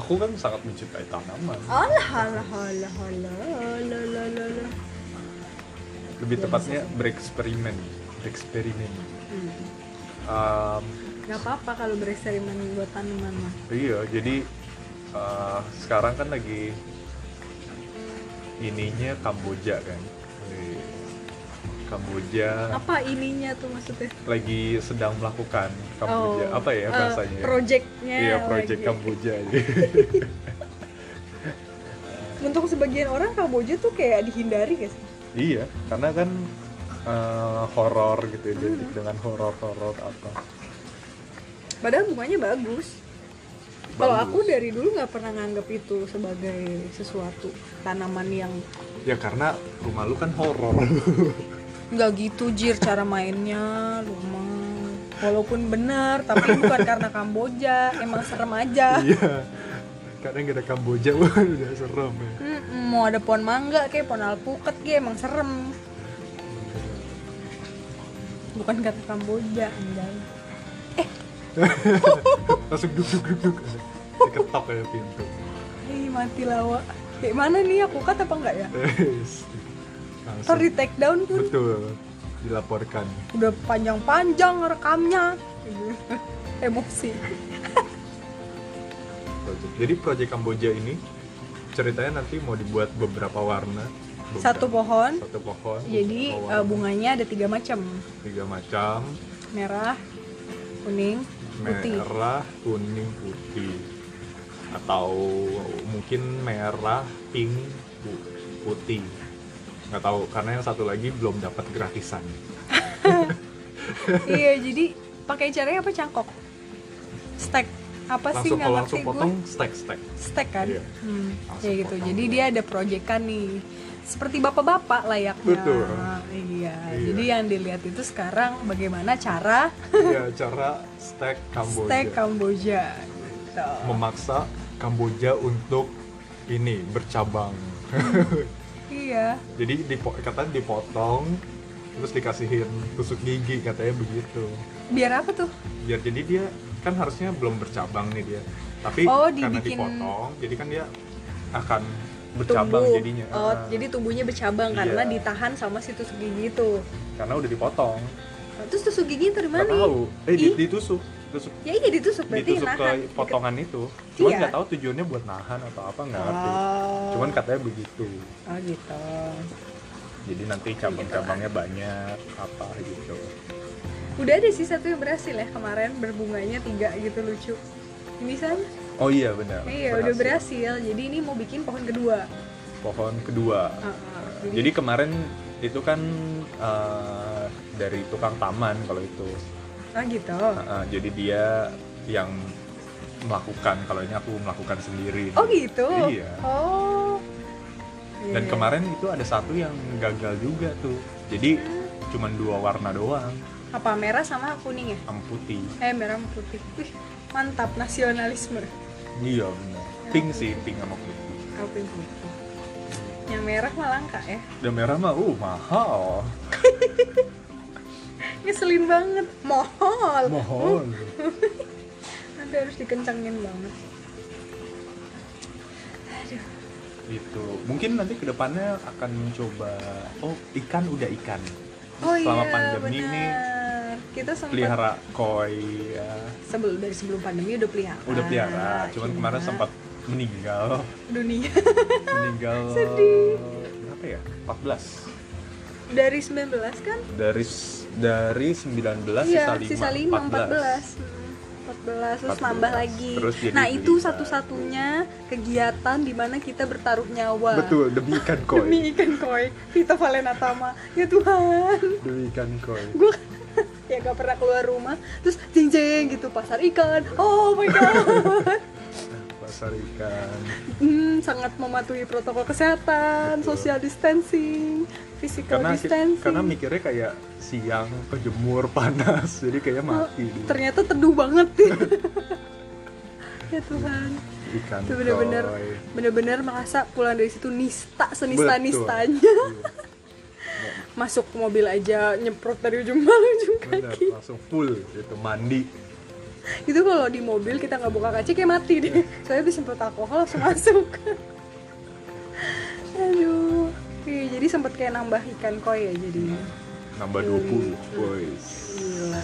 Speaker 2: aku kan sangat mencintai tanaman
Speaker 1: Alah alah alah alah alah alah, alah, alah.
Speaker 2: lebih tepatnya bereksperimen bereksperimen
Speaker 1: Hmm.
Speaker 2: Um,
Speaker 1: Gak apa-apa kalau bereksperimen buat tanaman mah.
Speaker 2: iya jadi uh, sekarang kan lagi ininya Kamboja kan Di Kamboja
Speaker 1: Apa ininya tuh maksudnya?
Speaker 2: lagi sedang melakukan Kamboja
Speaker 1: Oh,
Speaker 2: apa ya
Speaker 1: eh,
Speaker 2: bahasanya ya?
Speaker 1: projectnya
Speaker 2: iya project
Speaker 1: lagi.
Speaker 2: Kamboja
Speaker 1: Untuk sebagian orang Kamboja tuh kayak dihindari guys.
Speaker 2: iya karena kan uh, horor gitu identik
Speaker 1: Hmm.
Speaker 2: dengan horor-horor apa
Speaker 1: Padahal bunganya bagus. Kalau
Speaker 2: Bagus.
Speaker 1: aku dari dulu nggak pernah nganggap itu sebagai sesuatu tanaman yang
Speaker 2: ya karena rumah lu kan horor
Speaker 1: nggak gitu jir cara mainnya lu mah. Walaupun benar, tapi bukan karena Kamboja, emang serem aja.
Speaker 2: iya karena nggak ada Kamboja wah udah serem ya
Speaker 1: Mm-mm, mau ada pohon mangga kayak pohon alpukat kayak emang serem. Bukan kata Kamboja, anjay.
Speaker 2: langsung duk duk duk duk diketok ya pintu
Speaker 1: Ih, mati lawa. Kayak mana nih aku kata apa enggak ya?
Speaker 2: Yes.
Speaker 1: Ntar
Speaker 2: langsung
Speaker 1: di take down tuh.
Speaker 2: betul dilaporkan
Speaker 1: udah panjang-panjang rekamnya emosi
Speaker 2: project. Jadi project Kamboja ini ceritanya nanti mau dibuat beberapa warna. beberapa-
Speaker 1: Satu pohon.
Speaker 2: Satu pohon.
Speaker 1: jadi
Speaker 2: beberapa
Speaker 1: eh,
Speaker 2: warna.
Speaker 1: bunganya ada tiga macam
Speaker 2: tiga macam,
Speaker 1: merah kuning putih
Speaker 2: merah, kuning, putih. Atau mungkin merah, pink, pu- putih. Nggak tahu karena yang satu lagi belum dapat gratisan.
Speaker 1: iya jadi pakai caranya apa cangkok stack apa sih
Speaker 2: Langsung
Speaker 1: nggak
Speaker 2: kalau
Speaker 1: ngerti
Speaker 2: langsung
Speaker 1: gue
Speaker 2: potong stack-stack.
Speaker 1: stack kan
Speaker 2: Iya.
Speaker 1: Hmm,
Speaker 2: Langsung
Speaker 1: ya gitu
Speaker 2: potong. iya.
Speaker 1: jadi dia ada proyekan nih seperti bapak-bapak layaknya
Speaker 2: Betul.
Speaker 1: iya
Speaker 2: Iya.
Speaker 1: jadi yang dilihat itu sekarang bagaimana cara
Speaker 2: Iya, cara stack Kamboja.
Speaker 1: stack Kamboja gitu.
Speaker 2: Memaksa Kamboja untuk ini bercabang.
Speaker 1: iya
Speaker 2: jadi dipo- katanya dipotong terus dikasihin tusuk gigi katanya begitu
Speaker 1: biar apa tuh
Speaker 2: biar jadi dia kan harusnya belum bercabang nih dia tapi
Speaker 1: Oh,
Speaker 2: karena
Speaker 1: dibikin-
Speaker 2: dipotong jadi kan dia akan bercabang
Speaker 1: Tumbuh.
Speaker 2: jadinya
Speaker 1: oh,
Speaker 2: Ah,
Speaker 1: jadi tubuhnya bercabang
Speaker 2: Iya.
Speaker 1: karena ditahan sama si tusuk gigi itu
Speaker 2: karena udah dipotong
Speaker 1: Nah, terus tusuk gigi itu dari
Speaker 2: nggak
Speaker 1: mana
Speaker 2: tahu eh di-
Speaker 1: Ih.
Speaker 2: ditusuk tusuk
Speaker 1: ya iya ditusuk berarti
Speaker 2: ditusuk
Speaker 1: nahan
Speaker 2: ke potongan itu
Speaker 1: Iya.
Speaker 2: cuman nggak tahu tujuannya buat nahan atau apa nggak ngerti
Speaker 1: Oh.
Speaker 2: Nah, cuman kan- katanya begitu
Speaker 1: oh gitu
Speaker 2: jadi nanti cabang-cabangnya banyak apa gitu
Speaker 1: udah ada sih satu yang berhasil ya kemarin berbunganya tiga gitu lucu ini sana
Speaker 2: oh iya benar
Speaker 1: iya udah berhasil jadi ini mau bikin pohon kedua
Speaker 2: pohon kedua
Speaker 1: Heeh.
Speaker 2: Jadi kemarin itu kan eh, dari tukang taman kalau itu.
Speaker 1: ah gitu
Speaker 2: Eh, jadi dia yang melakukan, kalau ini aku melakukan sendiri.
Speaker 1: oh gitu
Speaker 2: Iya.
Speaker 1: oh Iya,
Speaker 2: Dan
Speaker 1: iya.
Speaker 2: kemarin itu ada satu yang gagal juga tuh. Jadi cuman dua warna doang,
Speaker 1: apa merah sama kuning ya
Speaker 2: sama putih.
Speaker 1: eh merah sama putih Wih, mantap nasionalisme
Speaker 2: Iya benar. Pink sih, pink sama putih.
Speaker 1: apa yang gitu yang merah malah langka ya
Speaker 2: Dan merah mah, uh mahal.
Speaker 1: ngeselin banget mohol
Speaker 2: Mahal.
Speaker 1: nanti harus dikencangin banget aduh
Speaker 2: Gitu. Mungkin nanti kedepannya akan mencoba. Oh ikan udah ikan.
Speaker 1: oh
Speaker 2: Selama
Speaker 1: iya
Speaker 2: pandemi ini
Speaker 1: benar kita sempat
Speaker 2: pelihara koi ya.
Speaker 1: sebelum dari sebelum pandemi udah pelihara
Speaker 2: udah
Speaker 1: Ah,
Speaker 2: pelihara cuman
Speaker 1: iya.
Speaker 2: kemarin sempat meninggal
Speaker 1: dunia
Speaker 2: meninggal
Speaker 1: Sedih.
Speaker 2: berapa ya 14
Speaker 1: dari 19 kan
Speaker 2: dari s- dari 19
Speaker 1: iya
Speaker 2: sisa 5
Speaker 1: lima, 14 Hmm, 14 terus
Speaker 2: 14.
Speaker 1: nambah lagi
Speaker 2: Terus jadi
Speaker 1: nah
Speaker 2: beli
Speaker 1: itu
Speaker 2: ikan.
Speaker 1: satu-satunya kegiatan di mana kita bertaruh nyawa
Speaker 2: betul demi ikan koi
Speaker 1: demi ikan koi Vita Valenatama ya Tuhan
Speaker 2: demi ikan koi
Speaker 1: gue ya gak pernah keluar rumah terus jeng jeng gitu pasar ikan oh my god
Speaker 2: pasar ikan
Speaker 1: Hmm, sangat mematuhi protokol kesehatan
Speaker 2: Betul.
Speaker 1: social distancing physical
Speaker 2: karena ki-
Speaker 1: distancing
Speaker 2: karena mikirnya kayak siang kejemur panas jadi kayak mati dia.
Speaker 1: Oh, ternyata teduh banget ya Tuhan
Speaker 2: ikan
Speaker 1: itu bener-bener
Speaker 2: koi
Speaker 1: bener-bener merasa pulang dari situ nista senista
Speaker 2: Betul.
Speaker 1: nistanya
Speaker 2: Iya,
Speaker 1: masuk ke mobil aja nyemprot dari ujung malu ujung
Speaker 2: bener,
Speaker 1: kaki
Speaker 2: langsung full gitu mandi
Speaker 1: itu kalau di mobil kita nggak buka kaca kayak mati deh soalnya habis semprot alkohol langsung masuk aduh Iya, jadi sempat kayak nambah ikan koi ya jadinya
Speaker 2: nambah
Speaker 1: Iya.
Speaker 2: 20 boys
Speaker 1: gila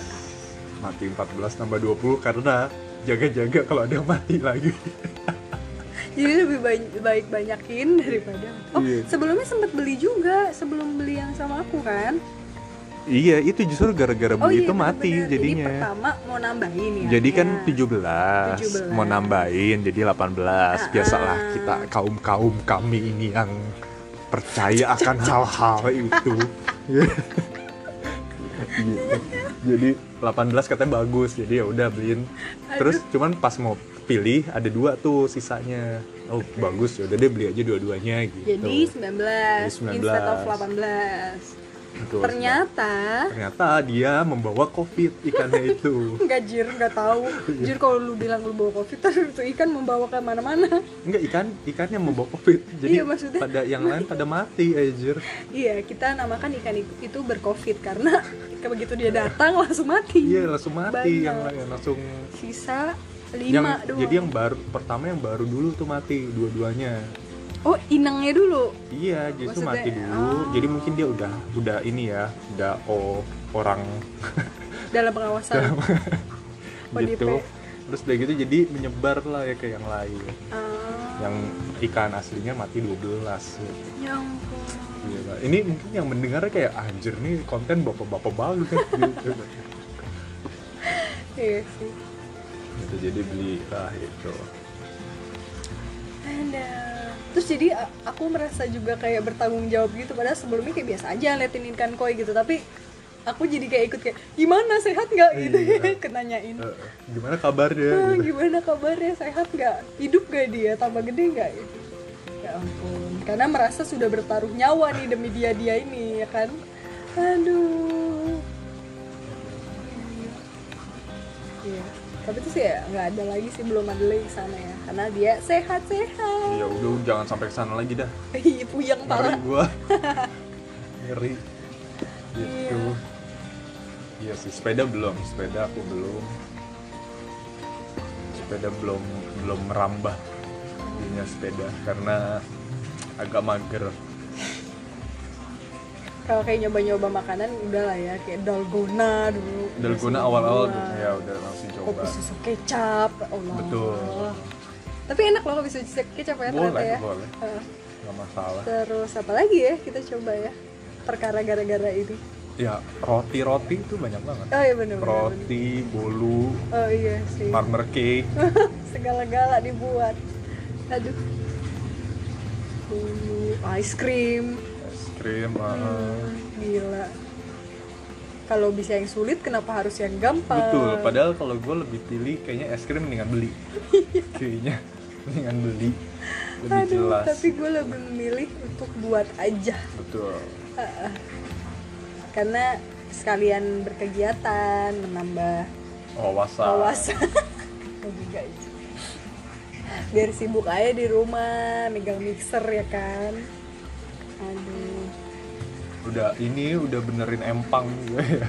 Speaker 2: mati 14 nambah 20 karena jaga-jaga kalau ada yang mati lagi
Speaker 1: jadi lebih baik, baik banyakin daripada oh
Speaker 2: Iya.
Speaker 1: sebelumnya sempat beli juga sebelum beli yang sama aku kan
Speaker 2: iya itu justru gara-gara
Speaker 1: oh
Speaker 2: beli itu
Speaker 1: bener-bener.
Speaker 2: mati
Speaker 1: Jadi
Speaker 2: jadinya
Speaker 1: pertama mau nambahin ya
Speaker 2: jadi kan
Speaker 1: Ya.
Speaker 2: 17, mau
Speaker 1: 17.
Speaker 2: nambahin jadi 18
Speaker 1: Ah,
Speaker 2: biasalah kita kaum-kaum kami ini yang percaya akan hal-hal itu Gitu. jadi 18 katanya bagus jadi ya udah beliin terus cuman pas mau pilih ada dua tuh sisanya oh bagus ya udah deh beli aja dua-duanya gitu
Speaker 1: jadi 19,
Speaker 2: Jadi 19.
Speaker 1: instead of 18
Speaker 2: Betul,
Speaker 1: ternyata
Speaker 2: nah, ternyata dia membawa covid ikannya itu
Speaker 1: nggak jir nggak tahu jir kalau lu bilang lu bawa covid terus itu ikan membawa ke mana-mana
Speaker 2: enggak ikan ikan yang membawa covid
Speaker 1: Iya,
Speaker 2: jadi
Speaker 1: maksudnya-
Speaker 2: pada yang lain pada mati aja
Speaker 1: iya kita namakan ikan i- itu bercovid karena begitu dia datang langsung mati
Speaker 2: iya langsung mati
Speaker 1: Banyak.
Speaker 2: yang lain langsung
Speaker 1: sisa
Speaker 2: yang
Speaker 1: lima doang
Speaker 2: jadi yang baru pertama yang baru dulu tuh mati dua-duanya
Speaker 1: oh inangnya dulu
Speaker 2: Iya, justru
Speaker 1: Maksudnya,
Speaker 2: mati dulu.
Speaker 1: oh.
Speaker 2: Jadi mungkin dia udah udah ini ya, udah oh, orang
Speaker 1: dalam pengawasan Oh, di
Speaker 2: gitu.
Speaker 1: P.
Speaker 2: Terus udah gitu jadi menyebar lah ya ke yang lain.
Speaker 1: Ah,
Speaker 2: Yang ikan aslinya mati 12 gitu.
Speaker 1: ya ampun
Speaker 2: Gila. Ini mungkin yang mendengarnya kayak "Ah, anjir nih konten bapak-bapak banget gitu.
Speaker 1: iya sih
Speaker 2: Gitu, jadi beli lah gitu. itu.
Speaker 1: ada terus jadi a- aku merasa juga kayak bertanggung jawab gitu padahal sebelumnya kayak biasa aja liatin ikan koi gitu tapi aku jadi kayak ikut kayak gimana sehat nggak gitu
Speaker 2: Iya.
Speaker 1: ikut nanyain
Speaker 2: Eh, gimana kabarnya
Speaker 1: "Ah,
Speaker 2: gitu.
Speaker 1: gimana kabarnya sehat nggak hidup gak dia tambah gede nggak gitu ya ampun karena merasa sudah bertaruh nyawa nih demi dia dia ini ya kan aduh iya tapi itu sih ya nggak ada lagi sih belum ada lagi sana ya karena dia sehat sehat
Speaker 2: Ya udah jangan sampai ke sana lagi dah.
Speaker 1: Ih, puyeng
Speaker 2: ngeri
Speaker 1: parah
Speaker 2: gua ngeri gitu iya sih sepeda belum sepeda aku belum sepeda belum belum merambah punya sepeda karena agak mager
Speaker 1: kalau kayak nyoba-nyoba makanan udah lah ya kayak dalgona dulu
Speaker 2: dalgona
Speaker 1: Terus
Speaker 2: awal-awal
Speaker 1: dalgona.
Speaker 2: ya udah langsung coba
Speaker 1: kopi susu kecap ya Allah
Speaker 2: Betul.
Speaker 1: tapi enak loh kopi susu kecap ya ternyata
Speaker 2: Boleh,
Speaker 1: ya
Speaker 2: boleh.
Speaker 1: Heeh.
Speaker 2: nggak masalah
Speaker 1: terus apa lagi ya kita coba ya perkara gara-gara ini
Speaker 2: ya roti roti itu banyak banget
Speaker 1: oh iya bener bener, bener.
Speaker 2: roti bolu
Speaker 1: oh iya sih
Speaker 2: partner cake
Speaker 1: segala-gala dibuat aduh Bulu, ice cream
Speaker 2: es krim ah.
Speaker 1: Hmm, gila kalau bisa yang sulit kenapa harus yang gampang
Speaker 2: Betul, padahal kalau gue lebih pilih kayaknya es krim mendingan beli. kayaknya mendingan beli. Lebih
Speaker 1: aduh
Speaker 2: jelas.
Speaker 1: tapi gue lebih memilih untuk buat aja
Speaker 2: Betul.
Speaker 1: karena sekalian berkegiatan menambah
Speaker 2: Wawasan.
Speaker 1: wawasan Gak juga itu. biar sibuk aja di rumah megang mixer ya kan aduh
Speaker 2: Udah ini udah benerin empang gue ya.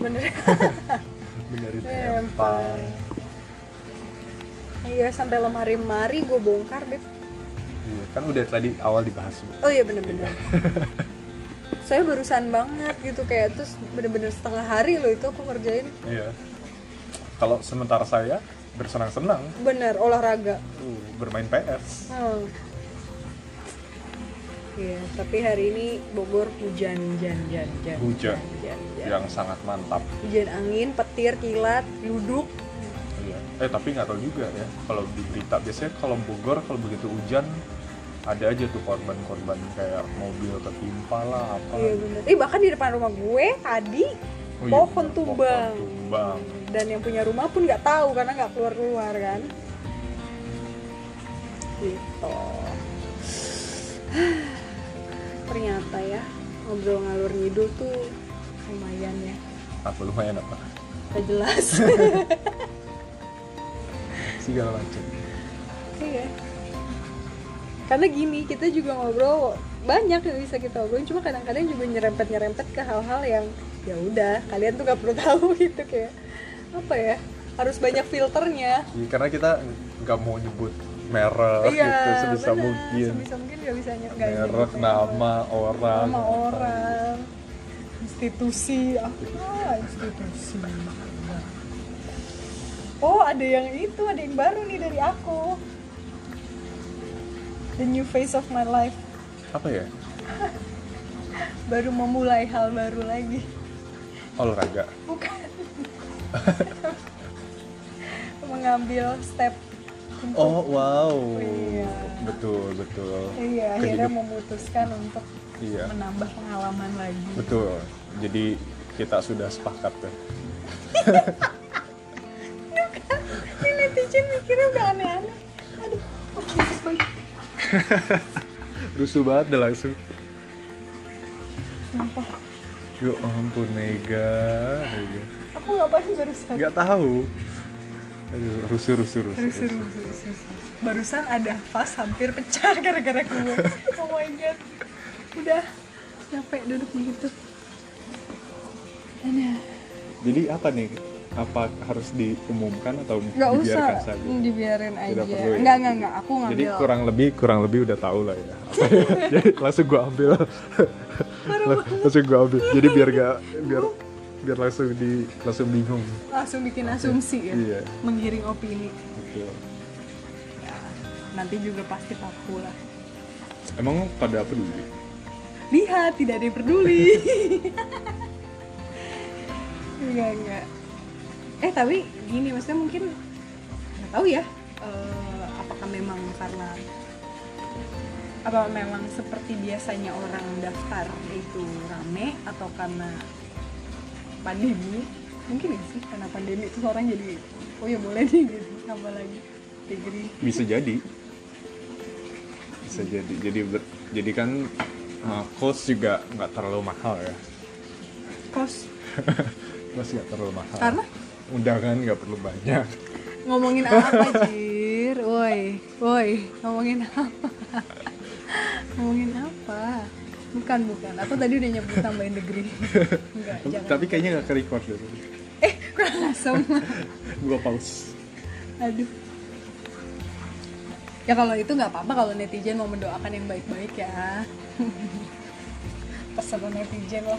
Speaker 1: bener
Speaker 2: Benerin
Speaker 1: Empang.
Speaker 2: empang.
Speaker 1: iya sampai lemari-lemari gue bongkar deh
Speaker 2: Iya, kan udah tadi awal dibahas.
Speaker 1: oh
Speaker 2: Bu.
Speaker 1: iya bener-bener saya barusan banget gitu kayak terus bener-bener setengah hari loh itu aku kerjain
Speaker 2: Iya. Kalau sementara saya bersenang-senang
Speaker 1: bener olahraga
Speaker 2: uh, bermain PS.
Speaker 1: Hmm. Iya, tapi hari ini Bogor hujan, hujan, hujan, hujan.
Speaker 2: Hujan.
Speaker 1: Hujan, hujan.
Speaker 2: Yang sangat mantap.
Speaker 1: Hujan angin, petir, kilat, duduk.
Speaker 2: Iya. Eh tapi nggak tahu juga ya. Kalau di berita biasanya kalau Bogor kalau begitu hujan ada aja tuh korban-korban kayak mobil ketimpa lah apa.
Speaker 1: Iya bener. Eh bahkan di depan rumah gue tadi
Speaker 2: Oh iya,
Speaker 1: pohon
Speaker 2: bener,
Speaker 1: tumbang.
Speaker 2: pohon tumbang.
Speaker 1: Dan yang punya rumah pun nggak tahu karena nggak keluar keluar kan. Gitu. Ternyata ya ngobrol ngalur ngidul tuh lumayan ya.
Speaker 2: Apa lumayan apa?
Speaker 1: Gak jelas.
Speaker 2: Segala macam.
Speaker 1: Iya. Karena gini, kita juga ngobrol banyak yang bisa kita obrolin, cuma kadang-kadang juga nyerempet-nyerempet ke hal-hal yang ya udah, kalian tuh gak perlu tahu gitu kayak apa ya? Harus banyak filternya.
Speaker 2: Iya, karena kita nggak mau nyebut merek gitu sebisa
Speaker 1: Iya, benar.
Speaker 2: mungkin.
Speaker 1: Sebisa mungkin gak bisa nyerempet.
Speaker 2: Merek, nama, orang.
Speaker 1: Nama orang, institusi, apa institusi? Oh, ada yang itu, ada yang baru nih dari aku. The new face of my life
Speaker 2: Apa ya?
Speaker 1: baru memulai hal baru lagi.
Speaker 2: Olahraga.
Speaker 1: Bukan. Mengambil step. untuk-
Speaker 2: Oh wow.
Speaker 1: Iya.
Speaker 2: Betul betul.
Speaker 1: Iya, akhirnya memutuskan untuk
Speaker 2: Iya.
Speaker 1: menambah pengalaman lagi.
Speaker 2: Betul. Jadi kita sudah sepakat tuh.
Speaker 1: Iya kan? Ini netizen mikirnya udah aneh-aneh. Aduh, oh, Yesus baik.
Speaker 2: Rusuh banget dah langsung.
Speaker 1: Kenapa?
Speaker 2: Ya ampun Mega. Mega.
Speaker 1: Aku ngapain barusan?
Speaker 2: Nggak tahu. Aduh, rusuh, rusuh, rusuh.
Speaker 1: Seru,
Speaker 2: rusuh.
Speaker 1: seru, seru. Barusan ada vas hampir pecah gara-gara gue. Oh my god. Udah capek duduk begitu. Aduh.
Speaker 2: Jadi apa nih apa harus diumumkan atau
Speaker 1: nggak usah
Speaker 2: dibiarkan saja?
Speaker 1: Hmm, dibiarin aja
Speaker 2: Tidak perlu ya?
Speaker 1: nggak nggak nggak aku ngambil
Speaker 2: Jadi kurang lebih kurang lebih udah tahu lah ya. Apa ya? Jadi langsung gua ambil. langsung gua ambil. Jadi biar gak biar biar langsung di langsung bingung.
Speaker 1: langsung bikin asumsi ya
Speaker 2: Iya.
Speaker 1: menggiring opini
Speaker 2: Gitu.
Speaker 1: ya, nanti juga pasti tahu lah
Speaker 2: Emang pada apa dulu?
Speaker 1: lihat tidak ada yang peduli enggak enggak eh tapi gini maksudnya mungkin nggak tahu ya eh, apakah memang karena apa memang seperti biasanya orang daftar itu rame atau karena pandemi mungkin ya sih karena pandemi terus orang jadi oh ya boleh nih gitu tambah lagi degree
Speaker 2: Bisa jadi. Bisa jadi. Jadi ber- jadi kan uh, cost juga nggak terlalu mahal ya.
Speaker 1: kos
Speaker 2: Cost nggak terlalu mahal.
Speaker 1: Karena?
Speaker 2: Undangan nggak perlu banyak.
Speaker 1: ngomongin apa Jir? Woi, woi, ngomongin apa? ngomongin apa? Bukan, bukan. Aku tadi udah nyebut tambahin degree. Enggak, jangan.
Speaker 2: Tapi kayaknya nggak ke-record dulu.
Speaker 1: Eh, kurang asem.
Speaker 2: Gua pause.
Speaker 1: Aduh. Ya kalau itu nggak apa-apa kalau netizen mau mendoakan yang baik-baik ya. Pesan netizen loh.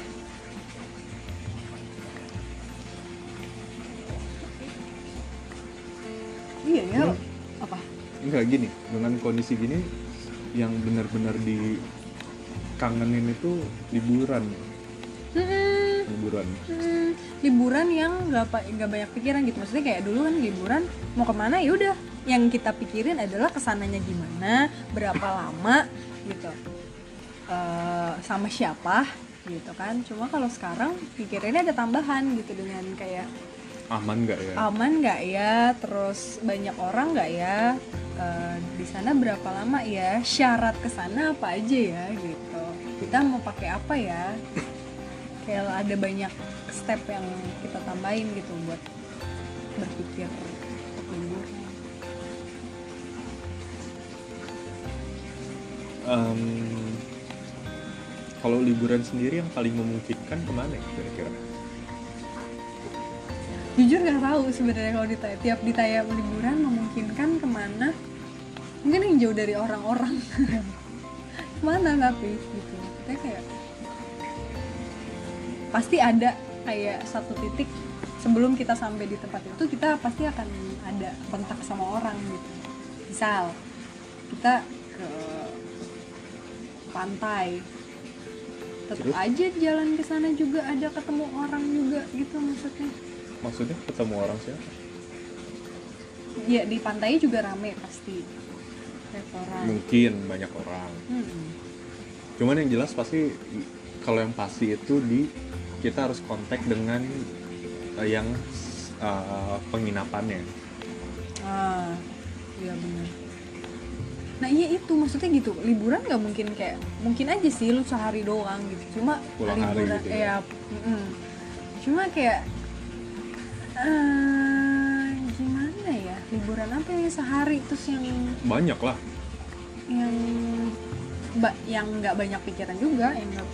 Speaker 1: Iya ya.
Speaker 2: Hmm.
Speaker 1: Apa?
Speaker 2: Enggak gini, dengan kondisi gini yang benar-benar di kangenin itu liburan,
Speaker 1: Hmm.
Speaker 2: liburan.
Speaker 1: Hmm, liburan yang nggak pa- nggak banyak pikiran gitu maksudnya kayak dulu kan liburan mau kemana ya udah yang kita pikirin adalah kesananya gimana berapa lama gitu Eh, sama siapa gitu kan cuma kalau sekarang pikirannya ada tambahan gitu dengan kayak
Speaker 2: Aman nggak ya?
Speaker 1: aman nggak ya terus banyak orang nggak ya Eh, di sana berapa lama ya syarat ke sana apa aja ya gitu kita mau pakai apa ya kayak ada banyak step yang kita tambahin gitu buat berpikir libur
Speaker 2: Em, kalau liburan sendiri yang paling memungkinkan kemana ya kira-kira?
Speaker 1: jujur nggak tahu sebenarnya kalau ditanya tiap ditanya liburan memungkinkan kemana mungkin yang jauh dari orang-orang mana tapi gitu kita kayak pasti ada kayak satu titik sebelum kita sampai di tempat itu kita pasti akan ada kontak sama orang gitu misal kita ke pantai tetap
Speaker 2: Terus?
Speaker 1: aja jalan ke sana juga ada ketemu orang juga gitu maksudnya
Speaker 2: Maksudnya ketemu orang siapa?
Speaker 1: ya di pantai juga rame pasti restoran Hmm.
Speaker 2: Mungkin banyak orang.
Speaker 1: Mm-mm.
Speaker 2: Cuman yang jelas pasti kalau yang pasti itu di kita harus kontak dengan eh, yang eh, penginapannya.
Speaker 1: ah iya benar nah iya itu maksudnya gitu liburan nggak mungkin kayak mungkin aja sih lu sehari doang gitu cuma
Speaker 2: Pulang hari
Speaker 1: liburan
Speaker 2: gitu
Speaker 1: ya
Speaker 2: ya.
Speaker 1: mm-mm. cuma kayak eh, gimana ya liburan apa ya sehari terus yang
Speaker 2: Banyak lah.
Speaker 1: yang ba- yang nggak banyak pikiran juga yang nggak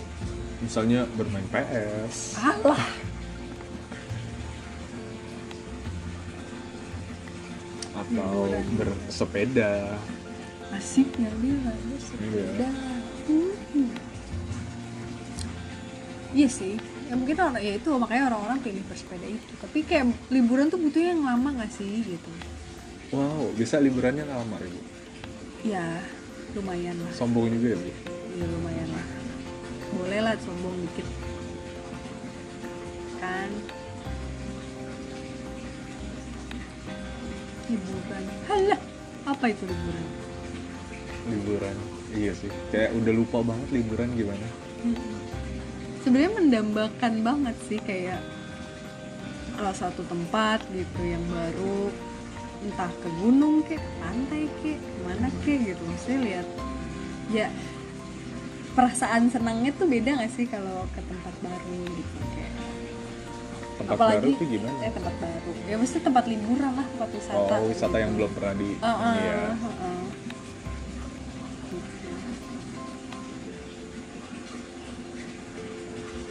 Speaker 2: Misalnya bermain PS.
Speaker 1: Alah.
Speaker 2: atau
Speaker 1: Liburan.
Speaker 2: bersepeda
Speaker 1: asik ya bilang lu sepeda Hmm. iya sih ya mungkin orang ya itu makanya orang-orang pilih bersepeda itu tapi kayak liburan tuh butuh yang lama nggak sih gitu
Speaker 2: wow bisa liburannya lama ibu
Speaker 1: ya lumayan lah
Speaker 2: sombong juga ya bu
Speaker 1: ya lumayan lah boleh lah sombong dikit kan liburan halah apa itu liburan
Speaker 2: liburan iya sih kayak udah lupa banget liburan gimana
Speaker 1: sebenarnya mendambakan banget sih kayak salah satu tempat gitu yang baru entah ke gunung kek ke pantai kek mana kek gitu maksudnya lihat ya perasaan senangnya tuh beda gak sih kalau ke tempat baru gitu kayak
Speaker 2: tempat baru tuh gimana
Speaker 1: eh, tempat baru ya mesti tempat liburan lah tempat wisata
Speaker 2: oh wisata yang
Speaker 1: gitu.
Speaker 2: belum pernah di
Speaker 1: Heeh,
Speaker 2: iya
Speaker 1: heeh. Gitu.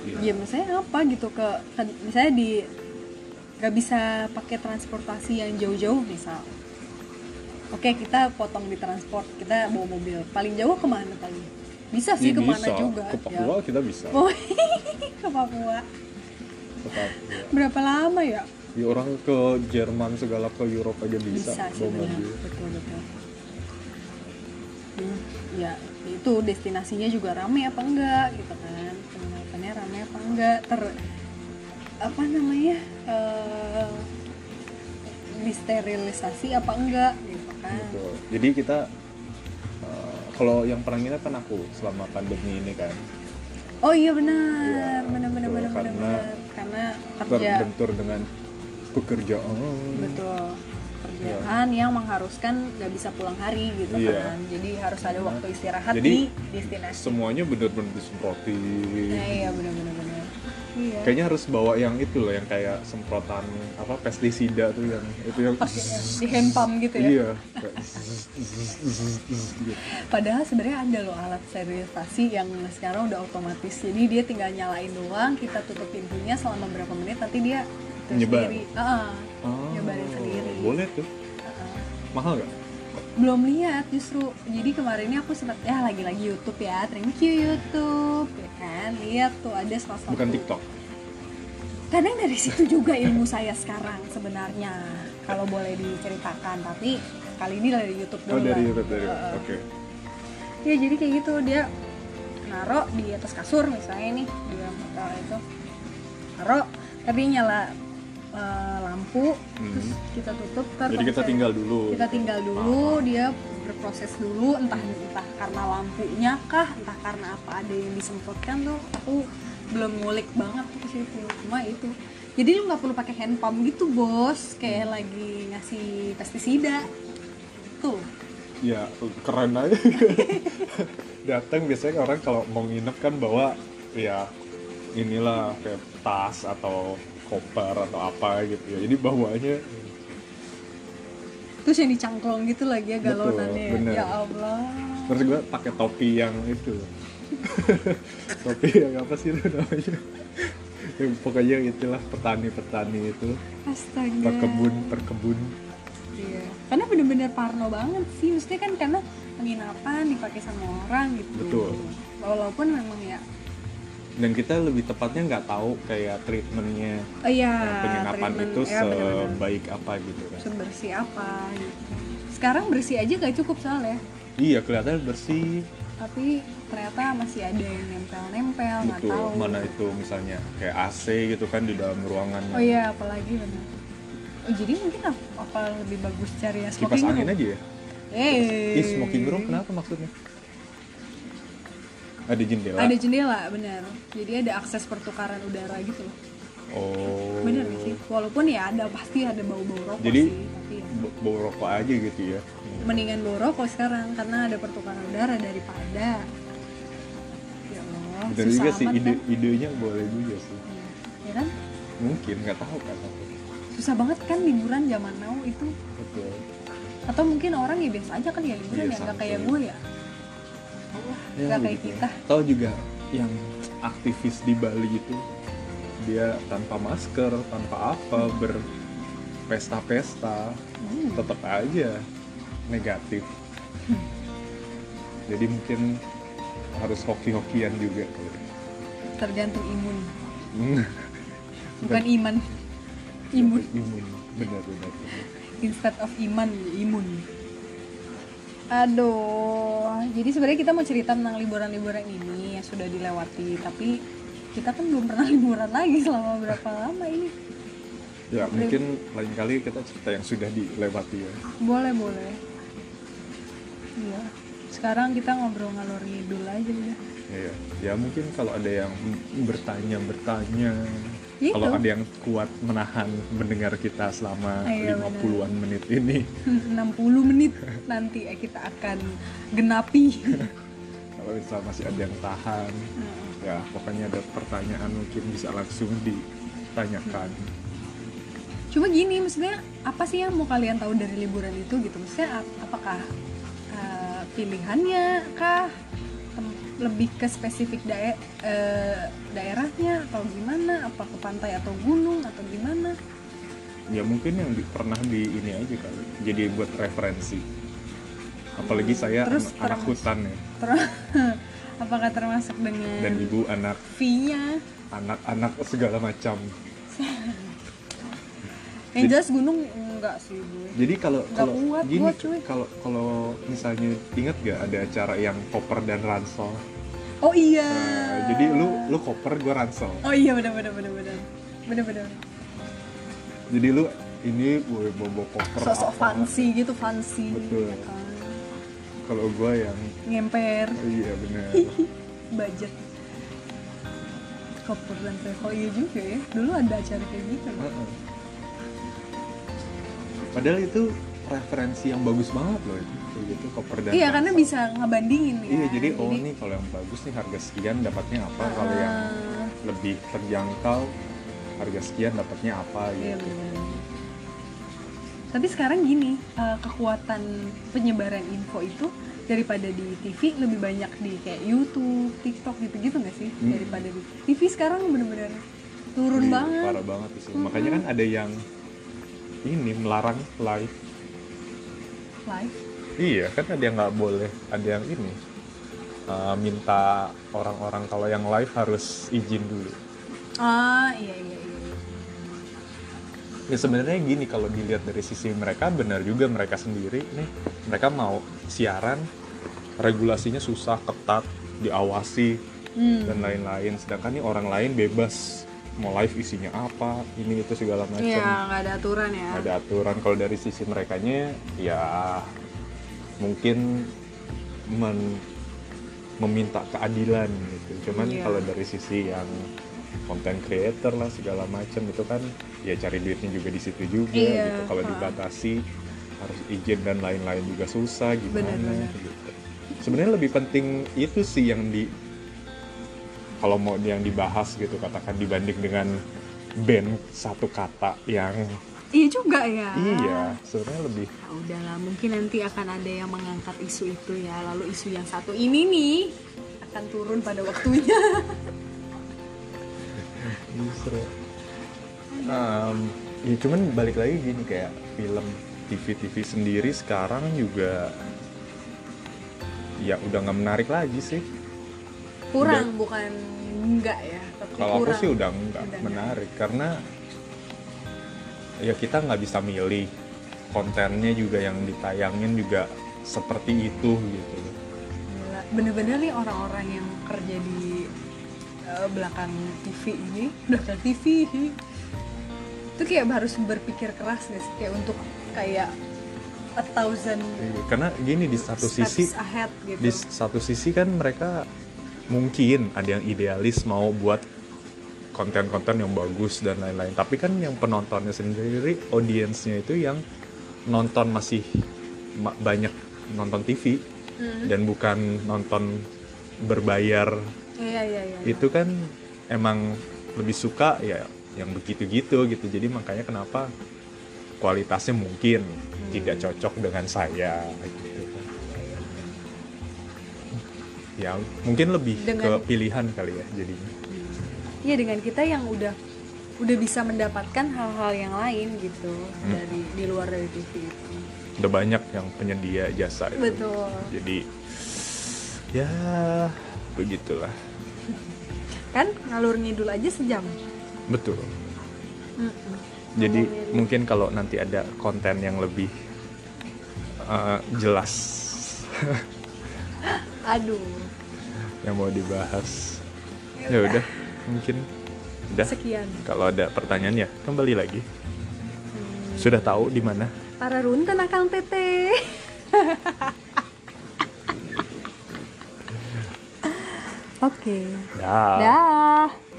Speaker 2: Iya.
Speaker 1: Iya, ya misalnya apa gitu ke, ke- misalnya di kan nggak bisa pakai transportasi yang jauh-jauh misal oke kita potong di transport kita bawa mobil paling jauh kemana paling bisa sih
Speaker 2: Ya,
Speaker 1: kemana
Speaker 2: bisa.
Speaker 1: juga
Speaker 2: Ke
Speaker 1: ya.
Speaker 2: Papua kita bisa.
Speaker 1: Oh, ke Papua
Speaker 2: Ke Papua.
Speaker 1: berapa lama ya
Speaker 2: Ya, iya. orang ke Jerman segala ke Eropa aja bisa,
Speaker 1: bisa sih benar
Speaker 2: bawa
Speaker 1: Ah.
Speaker 2: mobil.
Speaker 1: betul betul Hmm, ya itu destinasinya juga rame apa enggak gitu kan penginapannya rame apa enggak ter apa namanya eh disterilisasi apa enggak gitu kan
Speaker 2: Betul. Jadi kita eh, kalau yang pernah nginep kan aku selama pandemi ini kan
Speaker 1: oh iya benar
Speaker 2: Iya,
Speaker 1: benar benar
Speaker 2: betul.
Speaker 1: benar benar
Speaker 2: Karena
Speaker 1: benar. karena kerja
Speaker 2: terbentur dengan pekerjaan.
Speaker 1: betul kerjaan yang mengharuskan nggak bisa pulang hari gitu
Speaker 2: Iya.
Speaker 1: kan jadi harus ada waktu istirahat
Speaker 2: Jadi-
Speaker 1: di destinasi
Speaker 2: Semuanya bener-bener disemproti.
Speaker 1: Nah, iya benar-benar benar. Iya.
Speaker 2: Kayaknya harus bawa yang itu loh, yang kayak semprotan apa pestisida tuh yang itu yang
Speaker 1: Pakai yang di hand pump gitu ya.
Speaker 2: Iya. kayak zzz, zzz, zzz, zzz, gitu.
Speaker 1: Padahal sebenarnya ada loh alat sterilisasi yang sekarang udah otomatis. Jadi dia tinggal nyalain doang, kita tutup pintunya selama berapa menit nanti dia itu
Speaker 2: Nyebar.
Speaker 1: sendiri. Heeh.
Speaker 2: Oh,
Speaker 1: nyebarin sendiri.
Speaker 2: Boleh tuh.
Speaker 1: Heeh.
Speaker 2: Mahal nggak?
Speaker 1: Belum lihat justru. Jadi kemarin ini aku sempat ya lagi-lagi YouTube ya. Thank you YouTube. Ya kan, lihat tuh ada salah satu.
Speaker 2: Bukan TikTok.
Speaker 1: Kadang dari situ juga ilmu saya sekarang sebenarnya. Kalau boleh diceritakan, tapi kali ini dari YouTube dulu.
Speaker 2: Oh dari
Speaker 1: lah.
Speaker 2: YouTube dari.
Speaker 1: Heeh.
Speaker 2: Oke.
Speaker 1: ya jadi kayak gitu dia naro di atas kasur misalnya nih di dalam hotel itu naro tapi nyala eh, lampu terus
Speaker 2: Hmm.
Speaker 1: kita tutup ntar
Speaker 2: Jadi kita
Speaker 1: proses-
Speaker 2: tinggal dulu. Ah.
Speaker 1: kita tinggal dulu dia berproses dulu entah entah karena lampunya kah entah karena apa ada yang disemprotkan tuh aku belum ngulik banget tuh ke situ cuma itu jadi lu nggak perlu pakai hand pump gitu bos kayak
Speaker 2: Hmm.
Speaker 1: lagi ngasih pestisida tuh
Speaker 2: Ya keren aja. Datang biasanya orang kalau mau nginep kan bawa ya inilah kayak tas atau koper atau apa gitu ya. Jadi bawanya
Speaker 1: terus yang dicangklong gitu lagi ya
Speaker 2: Betul,
Speaker 1: galonannya ya.
Speaker 2: bener.
Speaker 1: ya Allah
Speaker 2: terus gue pakai topi yang itu. topi yang apa sih itu namanya? Ya, pokoknya itulah petani-petani itu
Speaker 1: Iya. astaga
Speaker 2: perkebun perkebun
Speaker 1: iya. karena bener-bener parno banget sih maksudnya kan karena penginapan dipakai sama orang gitu
Speaker 2: Betul.
Speaker 1: walaupun memang ya
Speaker 2: dan kita lebih tepatnya nggak tahu kayak treatmentnya
Speaker 1: oh iya
Speaker 2: penginapan
Speaker 1: treatment-
Speaker 2: itu
Speaker 1: ya, bener-bener.
Speaker 2: sebaik apa gitu kan
Speaker 1: sebersih apa gitu sekarang bersih aja gak cukup soalnya
Speaker 2: iya kelihatannya bersih
Speaker 1: tapi ternyata masih ada yang nempel-nempel nggak
Speaker 2: betul
Speaker 1: tahu
Speaker 2: mana itu misalnya kayak AC gitu kan di dalam ruangan
Speaker 1: oh iya apalagi benar oh, jadi mungkin apa, apa lebih bagus cari yang
Speaker 2: kipas
Speaker 1: smoking
Speaker 2: angin
Speaker 1: room?
Speaker 2: aja ya
Speaker 1: Eh.
Speaker 2: Ih, smoking room kenapa maksudnya ada jendela
Speaker 1: Ada jendela, benar. Jadi ada akses pertukaran udara gitu loh.
Speaker 2: oh
Speaker 1: Benar nggak sih? Walaupun ya ada pasti ada bau-bau rokok
Speaker 2: Jadi-
Speaker 1: sih, tapi ya.
Speaker 2: B- bau rokok aja gitu ya
Speaker 1: mendingan bau rokok sekarang karena ada pertukaran udara daripada ya Allah.
Speaker 2: bener
Speaker 1: susah
Speaker 2: juga sih
Speaker 1: amat
Speaker 2: ide
Speaker 1: kan.
Speaker 2: idenya boleh juga sih
Speaker 1: Iya. Ya kan?
Speaker 2: mungkin nggak tahu kan aku.
Speaker 1: Susah banget kan liburan zaman now itu.
Speaker 2: betul
Speaker 1: Atau mungkin orang ya biasa aja kan ya liburan ya
Speaker 2: Iya,
Speaker 1: nggak
Speaker 2: santai.
Speaker 1: kayak gue ya. Allah,
Speaker 2: Ya,
Speaker 1: nggak kayak
Speaker 2: begitu ya.
Speaker 1: kita.
Speaker 2: Tahu juga yang aktivis di Bali itu dia tanpa masker, tanpa apa berpesta-pesta,
Speaker 1: Hmm.
Speaker 2: tetap aja negatif. Jadi mungkin harus hoki-hokian juga.
Speaker 1: Tergantung imun.
Speaker 2: Hmm,
Speaker 1: Bukan iman. Imun.
Speaker 2: Imun, benar-benar.
Speaker 1: instead of iman imun aduh jadi sebenarnya kita mau cerita tentang liburan-liburan ini yang sudah dilewati tapi kita kan belum pernah liburan lagi selama berapa lama ini
Speaker 2: Ya mungkin lain kali kita cerita yang sudah dilewati ya.
Speaker 1: boleh boleh iya sekarang kita ngobrol ngalor ngidul aja udah
Speaker 2: Iya. Ya mungkin kalau ada yang bertanya bertanya,
Speaker 1: Gitu.
Speaker 2: kalau ada yang kuat menahan mendengar kita selama
Speaker 1: Iya,
Speaker 2: 50-an menit ini,
Speaker 1: 60 menit nanti eh, kita akan genapi
Speaker 2: kalau misal masih ada yang tahan, ya pokoknya ada pertanyaan mungkin bisa langsung ditanyakan.
Speaker 1: Cuma gini, maksudnya apa sih yang mau kalian tahu dari liburan itu gitu? Maksudnya ap- apakah eh, pilihannya kah Tem- lebih ke spesifik dae- eh, daerahnya atau gimana? Apa ke pantai atau gunung atau gimana?
Speaker 2: ya mungkin yang di- pernah di ini aja kali jadi buat referensi apalagi saya
Speaker 1: Terus
Speaker 2: an- anak
Speaker 1: termasuk-
Speaker 2: hutan ya
Speaker 1: Ter- apakah termasuk
Speaker 2: dan
Speaker 1: dengan
Speaker 2: ibu anak
Speaker 1: fee-nya?
Speaker 2: anak-anak segala macam
Speaker 1: Yang jelas gunung enggak sih gue.
Speaker 2: jadi kalau
Speaker 1: Nggak
Speaker 2: kalau
Speaker 1: kuat
Speaker 2: gini
Speaker 1: gua, cuy.
Speaker 2: kalau kalau misalnya ingat gak ada acara yang koper dan ransel
Speaker 1: Oh iya.
Speaker 2: Nah, jadi lu lu koper gue ransel
Speaker 1: Oh iya benar benar benar benar. Benar benar.
Speaker 2: jadi lu ini gue bobo koper
Speaker 1: Sosok
Speaker 2: apa.
Speaker 1: fancy gitu fancy.
Speaker 2: Betul.
Speaker 1: ya kan.
Speaker 2: kalau gue yang
Speaker 1: Ngemper,
Speaker 2: iya bener
Speaker 1: budget. Koper dan travel iya juga ya. Dulu ada acara kayak gitu.
Speaker 2: Heeh. padahal itu referensi yang bagus banget loh itu Kayak gitu koper dan
Speaker 1: Iya
Speaker 2: ransel.
Speaker 1: karena bisa ngebandingin ya.
Speaker 2: Iya, jadi oh nih kalau yang bagus nih harga sekian dapatnya apa, kalau yang
Speaker 1: Ah,
Speaker 2: lebih terjangkau harga sekian dapatnya apa
Speaker 1: Iya
Speaker 2: gitu.
Speaker 1: benar. Tapi sekarang gini, eh, kekuatan penyebaran info itu daripada di TV lebih banyak di kayak YouTube, TikTok gitu-gitu nggak sih
Speaker 2: Hmm.
Speaker 1: daripada di TV sekarang bener-bener turun
Speaker 2: Iya,
Speaker 1: banget.
Speaker 2: Parah banget sih. Makanya kan ada yang ini melarang live.
Speaker 1: Live.
Speaker 2: Iya, kan ada yang nggak boleh, ada yang ini eh, minta orang-orang kalau yang live harus izin dulu.
Speaker 1: Ah iya iya iya.
Speaker 2: Ya sebenarnya gini kalau dilihat dari sisi mereka benar juga mereka sendiri nih mereka mau siaran regulasinya susah ketat diawasi
Speaker 1: Hmm.
Speaker 2: dan lain-lain sedangkan nih orang lain bebas mau live isinya apa ini itu segala macam
Speaker 1: Iya nggak ada aturan ya.
Speaker 2: Nggak ada aturan kalau dari sisi merekanya ya mungkin men- meminta keadilan gitu cuman
Speaker 1: Iya.
Speaker 2: kalau dari sisi yang konten creator lah segala macam itu kan ya cari duitnya juga di situ juga
Speaker 1: Iya,
Speaker 2: gitu kalau
Speaker 1: ha.
Speaker 2: dibatasi harus izin dan lain-lain juga susah gimana
Speaker 1: Benar-benar.
Speaker 2: gitu sebenarnya lebih penting itu sih yang di kalau mau yang dibahas gitu katakan dibanding dengan band satu kata yang
Speaker 1: Iya juga ya.
Speaker 2: Iya, sebenarnya lebih
Speaker 1: Ya udahlah, mungkin nanti akan ada yang mengangkat isu itu ya. Lalu isu yang satu ini nih akan turun pada waktunya.
Speaker 2: justru. Em, ya cuman balik lagi gini kayak film TV-TV sendiri sekarang juga ya udah nggak menarik lagi sih.
Speaker 1: kurang bukan enggak ya tapi
Speaker 2: Kalau aku
Speaker 1: kurang
Speaker 2: sih udah nggak
Speaker 1: Udah nggak.
Speaker 2: menarik karena ya kita nggak bisa milih kontennya juga yang ditayangin juga seperti itu gitu.
Speaker 1: Gila. bener-bener nih orang-orang yang kerja di eh, belakang TV ini belakang TV itu kayak harus berpikir keras guys kayak untuk kayak a thousand
Speaker 2: Karena gini di satu sisi
Speaker 1: steps ahead gitu
Speaker 2: di satu sisi kan mereka mungkin ada yang idealis mau buat konten-konten yang bagus dan lain-lain tapi kan yang penontonnya sendiri audiensnya itu yang nonton masih ma- banyak nonton TV
Speaker 1: Mm.
Speaker 2: dan bukan nonton berbayar
Speaker 1: iya iya iya
Speaker 2: itu kan emang lebih suka ya yang begitu-gitu gitu jadi makanya kenapa kualitasnya mungkin tidak cocok dengan saya gitu kan. ya mungkin lebih
Speaker 1: Dengan-
Speaker 2: ke pilihan kali ya jadinya
Speaker 1: Iya dengan kita yang udah udah bisa mendapatkan hal-hal yang lain gitu dari di luar dari TV itu
Speaker 2: udah banyak yang penyedia jasa itu
Speaker 1: betul
Speaker 2: jadi ya begitulah
Speaker 1: kan ngalur ngidul aja sejam
Speaker 2: betul
Speaker 1: Mm-mm.
Speaker 2: jadi mungkin kalau nanti ada konten yang lebih eh, jelas
Speaker 1: Aduh,
Speaker 2: yang mau dibahas. Ya udah, mungkin udah.
Speaker 1: sekian.
Speaker 2: Kalau ada pertanyaan ya kembali lagi.
Speaker 1: Hmm.
Speaker 2: Sudah tahu di mana?
Speaker 1: Para runten akang tete. Oke.
Speaker 2: Dah. Ah.
Speaker 1: Dah.